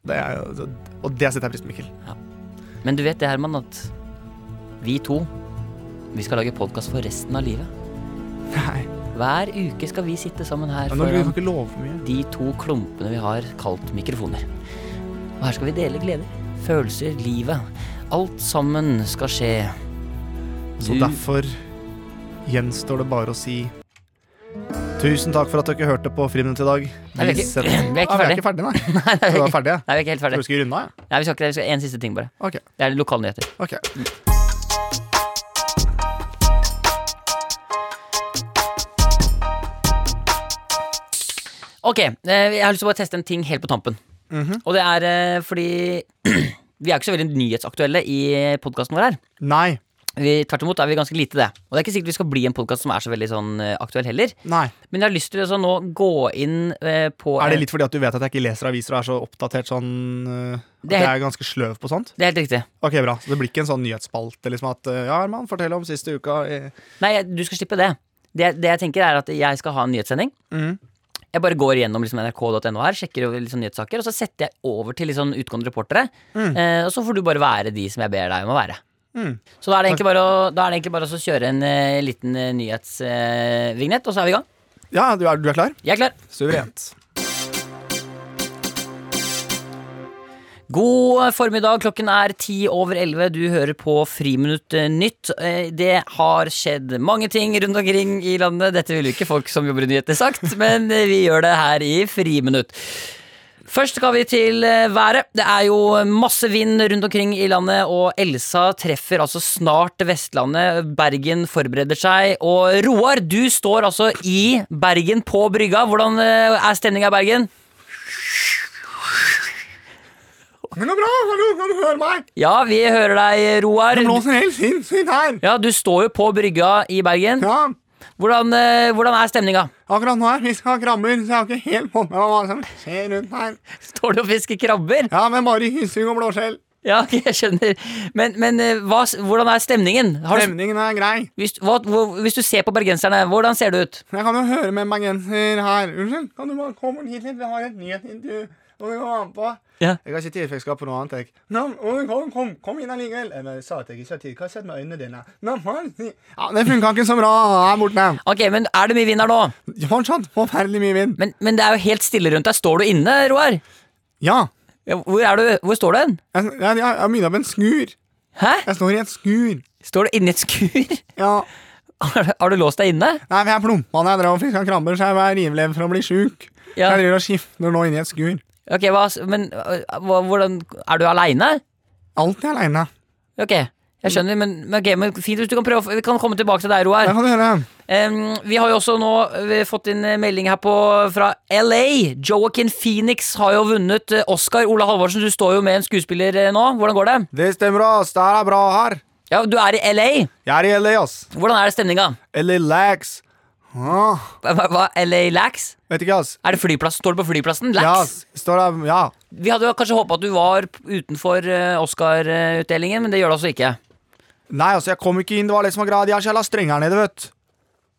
C: Det er, og det setter jeg pris på, Mikkel.
B: Men du vet det, Herman, at vi to, vi skal lage podkast for resten av livet.
C: Nei,
B: Hver uke skal vi sitte sammen her
C: men nå kan
B: foran
C: du ikke love for mye.
B: de to klumpene vi har kalt mikrofoner. Og her skal vi dele gleder, følelser, livet. Alt sammen skal skje.
C: Så
B: Du-
C: derfor gjenstår det bare å si Tusen takk for at dere hørte på Friminutt i dag.
B: Nei, vi er ikke-
C: setter-
B: vi er ikke
C: Ah, vi
B: ferdig.
C: er ikke ferdig, nei.
B: Nei, nei,
C: Vi
B: vi er
C: var
B: ikke-
C: ferdige.
B: nei, vi er ikke helt
C: Tror du vi
B: ferdig.
C: skulle runde av? ja?
B: Nei, vi skal ikke det. Vi skal en siste ting, bare.
C: Ok.
B: Det er lokalnyheter.
C: ok.
B: Ok, eh, jeg har lyst til å bare teste en ting helt på tampen.
C: Mhm.
B: Og det er eh, fordi vi er ikke så veldig nyhetsaktuelle i podkasten vår her.
C: Nei.
B: Vi, tvert imot er vi ganske lite det. Og det er ikke sikkert vi skal bli en podkast som er så veldig sånn eh, aktuell heller.
C: Nei.
B: Men jeg har lyst til å så nå gå inn eh, på
C: Er det
B: en-
C: litt fordi at du vet at jeg ikke leser aviser og er så oppdatert sånn eh, At
B: Det er-
C: jeg er ganske sløv på sånt?
B: Det er helt riktig.
C: Ok, bra. Så det blir ikke en sånn nyhetsspalte liksom at eh, Ja, Herman, fortell om siste uka i
B: Nei, jeg- du skal slippe det. det. Det jeg tenker er at jeg skal ha en nyhetssending.
C: Mhm.
B: Jeg bare går gjennom liksom nrk.no her, sjekker over liksom nyhetssaker, og så setter jeg over til liksom utgående reportere.
C: Mm.
B: Eh, og så får du bare være de som jeg ber deg om å være.
C: Hmm.
B: Så da er det egentlig bare å, da er det egentlig bare å så kjøre en eh, liten eh, nyhetsvignett, eh, vignett, og så er vi i gang.
C: Ja, du er, du er klar?
B: Jeg er klar.
C: Suverent.
B: God formiddag, klokken er ti over elleve. Du hører på Friminutt eh, Nytt. Eh, Det har skjedd mange ting rundt omkring i landet. Dette ville jo ikke folk som jobber i nyheter sagt, men eh, vi gjør det her i Friminutt. Først skal vi til eh, været. Det er jo masse vind rundt omkring i landet, og Elsa treffer altså snart Vestlandet. Bergen forbereder seg. Og Roar, du står altså i Bergen på brygga. Hvordan eh, er stemninga i Bergen?
C: Men det er bra! Hallo, kan du høre meg?
B: Ja, vi hører deg, Roar.
C: Det blåser helt sinnssykt her!
B: Ja, du står jo på brygga i Bergen.
C: Ja,
B: Hvordan, eh, hvordan er stemninga?
C: akkurat nå her. Vi skal ha krabber, så jeg har ikke helt fått med meg hva som skjer rundt her.
B: Står du og fisker krabber?
C: Ja, men bare i hyssing og blåskjell.
B: Ja, ok, jeg skjønner. Men, men eh, hva, s- hvordan er stemningen? Har du,
C: Stemningen er grei.
B: hvis, hva, hvor, hvis du ser på bergenserne, hvordan ser det ut?
C: Jeg kan jo høre med en bergenser her. Unnskyld, kan du bare komme hit litt? Vi har et nyhetsintervju. Og vi må være med på.
B: Ja.
C: Jeg har ikke tid, for jeg skal på noe annet. Jeg. Nå, oi, kom, kom, kom inn allikevel. Jeg bare sa at jeg ikke har tid. Hva har skjedd med øynene dine? Nå, hva er det? Ja, det funka ikke så bra her borte.
B: Ok, men Er det mye vind her nå?
C: Fortsatt forferdelig mye vind.
B: Men, men det er jo helt stille rundt deg. Står du inne, Roar?
C: Ja.
B: Ja, Hvor, er du, hvor står du hen?
C: Jeg, jeg, jeg, jeg begynner med en skur.
B: Hæ?
C: Jeg står i et skur.
B: Står du inni et skur?
C: Ja.
B: Har du- har du låst deg inne?
C: Nei, men jeg plumpa da jeg drev og fiska krabber, så jeg var livredd for å bli sjuk.
B: Ja.
C: Jeg driver og skifter nå inni et skur.
B: Ok, hva, s- men eh, hva, hvordan Er du aleine?
C: Alltid aleine.
B: Ok,
C: Mm.
B: jeg skjønner, men, men, ok, men fint hvis du kan prøve å- Vi kan komme tilbake til deg, Roar.
C: Det kan du gjøre.
B: Em, vi har jo også nå eh, fått inn eh, melding her på, fra LA. Joaquin Phoenix har jo vunnet eh, Oscar. Ola Halvorsen, du står jo med en skuespiller eh, nå. Hvordan går det?
C: Det stemmer, ass. Det her er bra her.
B: Ja, Du er i LA.
C: Jeg er i LA, ass.
B: Hvordan er det stemninga?
C: LA Lax. Ah,
B: Hva, hva, LA Lax?
C: vet ikke, ass.
B: Er det flyplass? Står du på flyplassen?
C: Ja,
B: Lax?
C: ass. Står der, ja.
B: Vi hadde jo kanskje håpa at du var p- utenfor eh, Oscar-utdelingen, men det gjør du altså ikke.
C: Nei, altså, jeg kom ikke inn. Det var det som var greia. De har så jævla strenge her nede, vet du.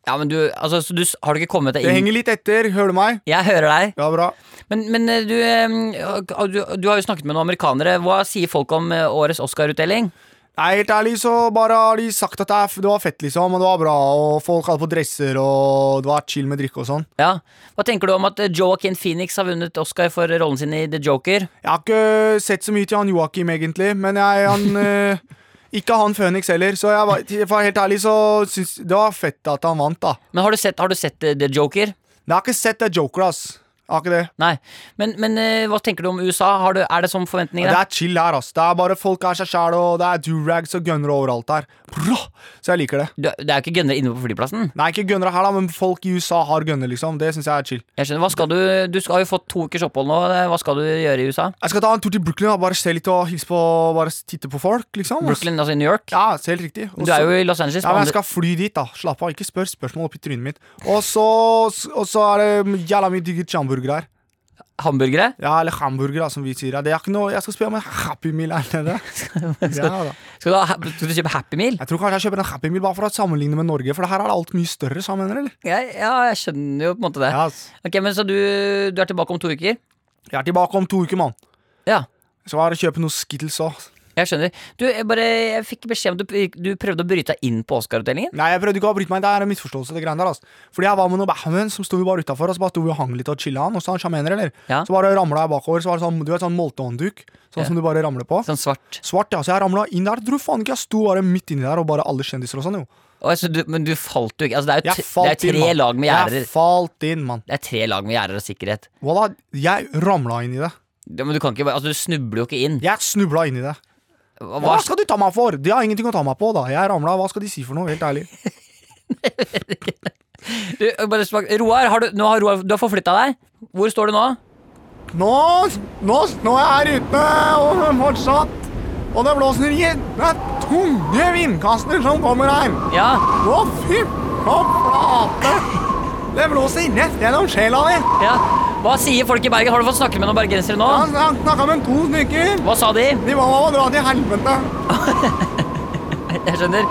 B: Ja, men du, altså, så du s- Har du ikke kommet deg
C: Det
B: inn?
C: henger litt etter. Hører du meg?
B: Jeg hører deg.
C: Ja, bra.
B: Men, men eh, du, em, ja, du, du har jo snakket med noen amerikanere. Hva sier folk om eh, årets Oscar-utdeling?
C: Nei, helt ærlig så bare har de sagt at det er- det var fett, liksom, og det var bra, og folk hadde på dresser, og det var chill med drikke og sånn.
B: Ja. Hva tenker du om at eh, Joaquin Phoenix har vunnet Oscar for rollen sin i The Joker?
C: Jeg har ikke øh, sett så mye til han Joakim, egentlig, men jeg, han eh, Ikke han Phoenix heller, så jeg, var- for helt ærlig så syns det var fett at han vant, da.
B: Men har du sett, har du sett eh, The Joker?
C: Men jeg har ikke sett det Joker, ass. Jeg har ikke det.
B: Nei. Men, men eh, hva tenker du om USA? Har du, er det som forventninger?
C: Det
B: der?
C: er chill her, ass. Det er bare folk er seg sjæl, og det er durags og gunnere overalt her. Bra! Så jeg liker det.
B: Du- det er jo ikke gønnere inne på flyplassen.
C: Nei, ikke gunnere her, da, men folk i USA har gunner, liksom. Det syns jeg er chill.
B: Jeg skjønner, hva skal Du Du skal- har jo fått to ukers opphold nå. Eh, Hva skal du gjøre i USA?
C: Jeg skal ta en tur til Brooklyn og bare se litt og hilse på Bare titte på folk, liksom. ass.
B: Brooklyn, altså i New York?
C: Ja, så helt riktig. Og
B: Du er
C: så-
B: jo i Los Angeles.
C: Ja,
B: men
C: men jeg
B: andre-
C: skal fly dit, da. Slapp av, ikke spør spørsmål oppi trynet mitt. Og så, og så er det jævla mye digge hamburgere her.
B: hamburgere.
C: Ja, eller hamburger, da, som vi sier. Ja, Det er ikke noe, jeg skal spørre om en Happy Meal her nede. Ja, da.
B: Skal du, ha, skal du kjøpe Happy Meal?
C: Jeg tror kanskje jeg kjøper en Happy Meal bare for å sammenligne med Norge, for her er det alt mye større, sa han, mener eller?
B: Ja, ja, jeg skjønner jo på en måte det.
C: Ja, ass.
B: Ok, men Så du, du er tilbake om to uker?
C: Jeg er tilbake om to uker, mann.
B: Ja,
C: Så bare kjøpe noe Skittles òg.
B: jeg skjønner. Du, jeg, bare, jeg fikk beskjed om at du, du prøvde å bryte deg inn på Oscar-utdelingen.
C: Nei, jeg prøvde ikke å avbryte meg. Det er en misforståelse. det greiene der, altså. Fordi jeg var med noen bæven som sto jo bare utafor og så bare sto vi og hang litt og chilla han. Og så han sjamener, eller?
B: Ja.
C: Så bare ramla jeg bakover. Så var det sånn, du vet, sånn moltehåndduk. Sånn
B: Ja.
C: som du bare ramler på.
B: Sånn svart.
C: Svart, ja. Så jeg ramla inn der. Tror faen ikke jeg sto bare midt inni der og bare alle kjendiser og sånn, jo.
B: Og, altså, du, men du falt jo ikke. Altså, det er jo
C: Jeg
B: t- det er
C: falt inn,
B: tre
C: mann.
B: lag med gjerder.
C: Jeg falt inn, mann.
B: Det er tre lag med gjerder og sikkerhet.
C: Voilà, jeg ramla inn i det.
B: Ja, men du kan ikke bare- Altså, du snubler jo ikke inn.
C: Jeg snubla inn i det.
B: Hva,
C: Hva
B: hva-
C: skal de ta meg for? De har ingenting å ta meg på, da. Jeg ramla, hva skal de si for noe? Helt ærlig.
B: du, bare smak. Roar, har du, nå har Roar, du har forflytta deg. Hvor står du nå?
C: Nå, nå, nå er jeg her ute og fortsatt. Og det blåser i det er tunge vindkaster som kommer her.
B: Ja,
C: Å, fy på flate! Det blåser rett gjennom sjela di.
B: ja. Hva sier folk i Bergen? Har du fått snakke med noen bergensere nå?
C: Jeg har snakka med to stykker.
B: Hva sa de?
C: De ba meg å dra til helvete.
B: Jeg skjønner.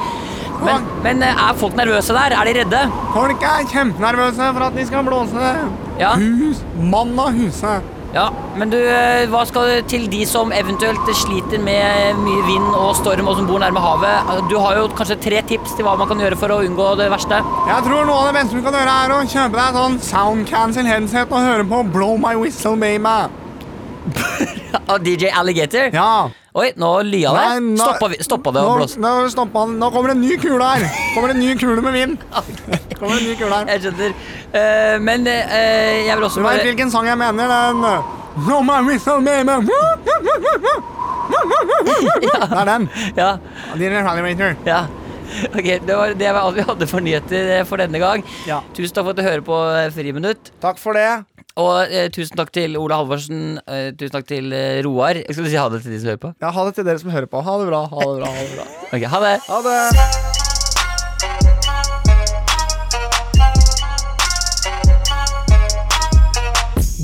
B: Men, men eh, er folk nervøse der? Er de redde?
C: Folk er kjempenervøse for at de skal blåse
B: Ja.
C: hus, mann av huset.
B: ja. Men du, eh, hva skal til de som eventuelt sliter med eh, mye vind og storm, og som bor nærme havet? Eh, Du har jo kanskje tre tips til hva man kan gjøre for å unngå det verste.
C: Jeg tror noe av det beste du kan gjøre, er å kjøpe deg sånn sound cancel headset og høre på Blow My Whistle Baby.
B: Av DJ Alligator?
C: Ja.
B: Oi, nå lya det.
C: Nei, nå-
B: Stoppa, vi- stoppa det å
C: nå,
B: blåse?
C: Nå, stoppa den. nå kommer det en ny kule her. Kommer det en ny kule med vind. Kommer det en ny kule her.
B: Jeg skjønner. Eh, men eh, jeg vil også
C: Du vet
B: bare
C: hvilken sang jeg mener? Den uh, Blow My Whistle Baby. Det er den.
B: Ja.
C: Din Evaluator.
B: ja. Ok, Det var det var alt vi hadde for nyheter eh, for denne gang.
C: Ja.
B: Tusen takk for at du hører på eh, Friminutt.
C: Takk for det.
B: Og eh, tusen takk til Ola Halvorsen. Eh, tusen takk til eh, Roar. Skal du si ha det til de som hører på?
C: Ja, ha det til dere som hører på. Ha det bra. Ha det bra. Ha det bra.
B: Ok, Ha det.
C: Ha det.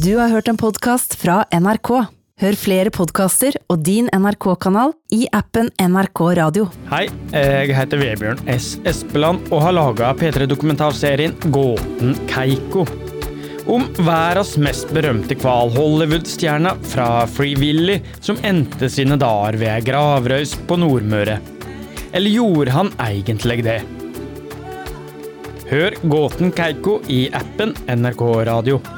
A: Du har hørt en podkast fra NRK. Hør flere podkaster og din NRK-kanal i appen NRK Radio.
F: Hei, jeg heter Vebjørn S. Espeland og har laga P3-dokumentarserien Gåten Keiko. Om verdens mest berømte hval, Hollywood-stjerna fra Free Willy, som endte sine dager ved ei gravrøys på Nordmøre. Eller gjorde han egentlig det? Hør Gåten Keiko i appen NRK Radio.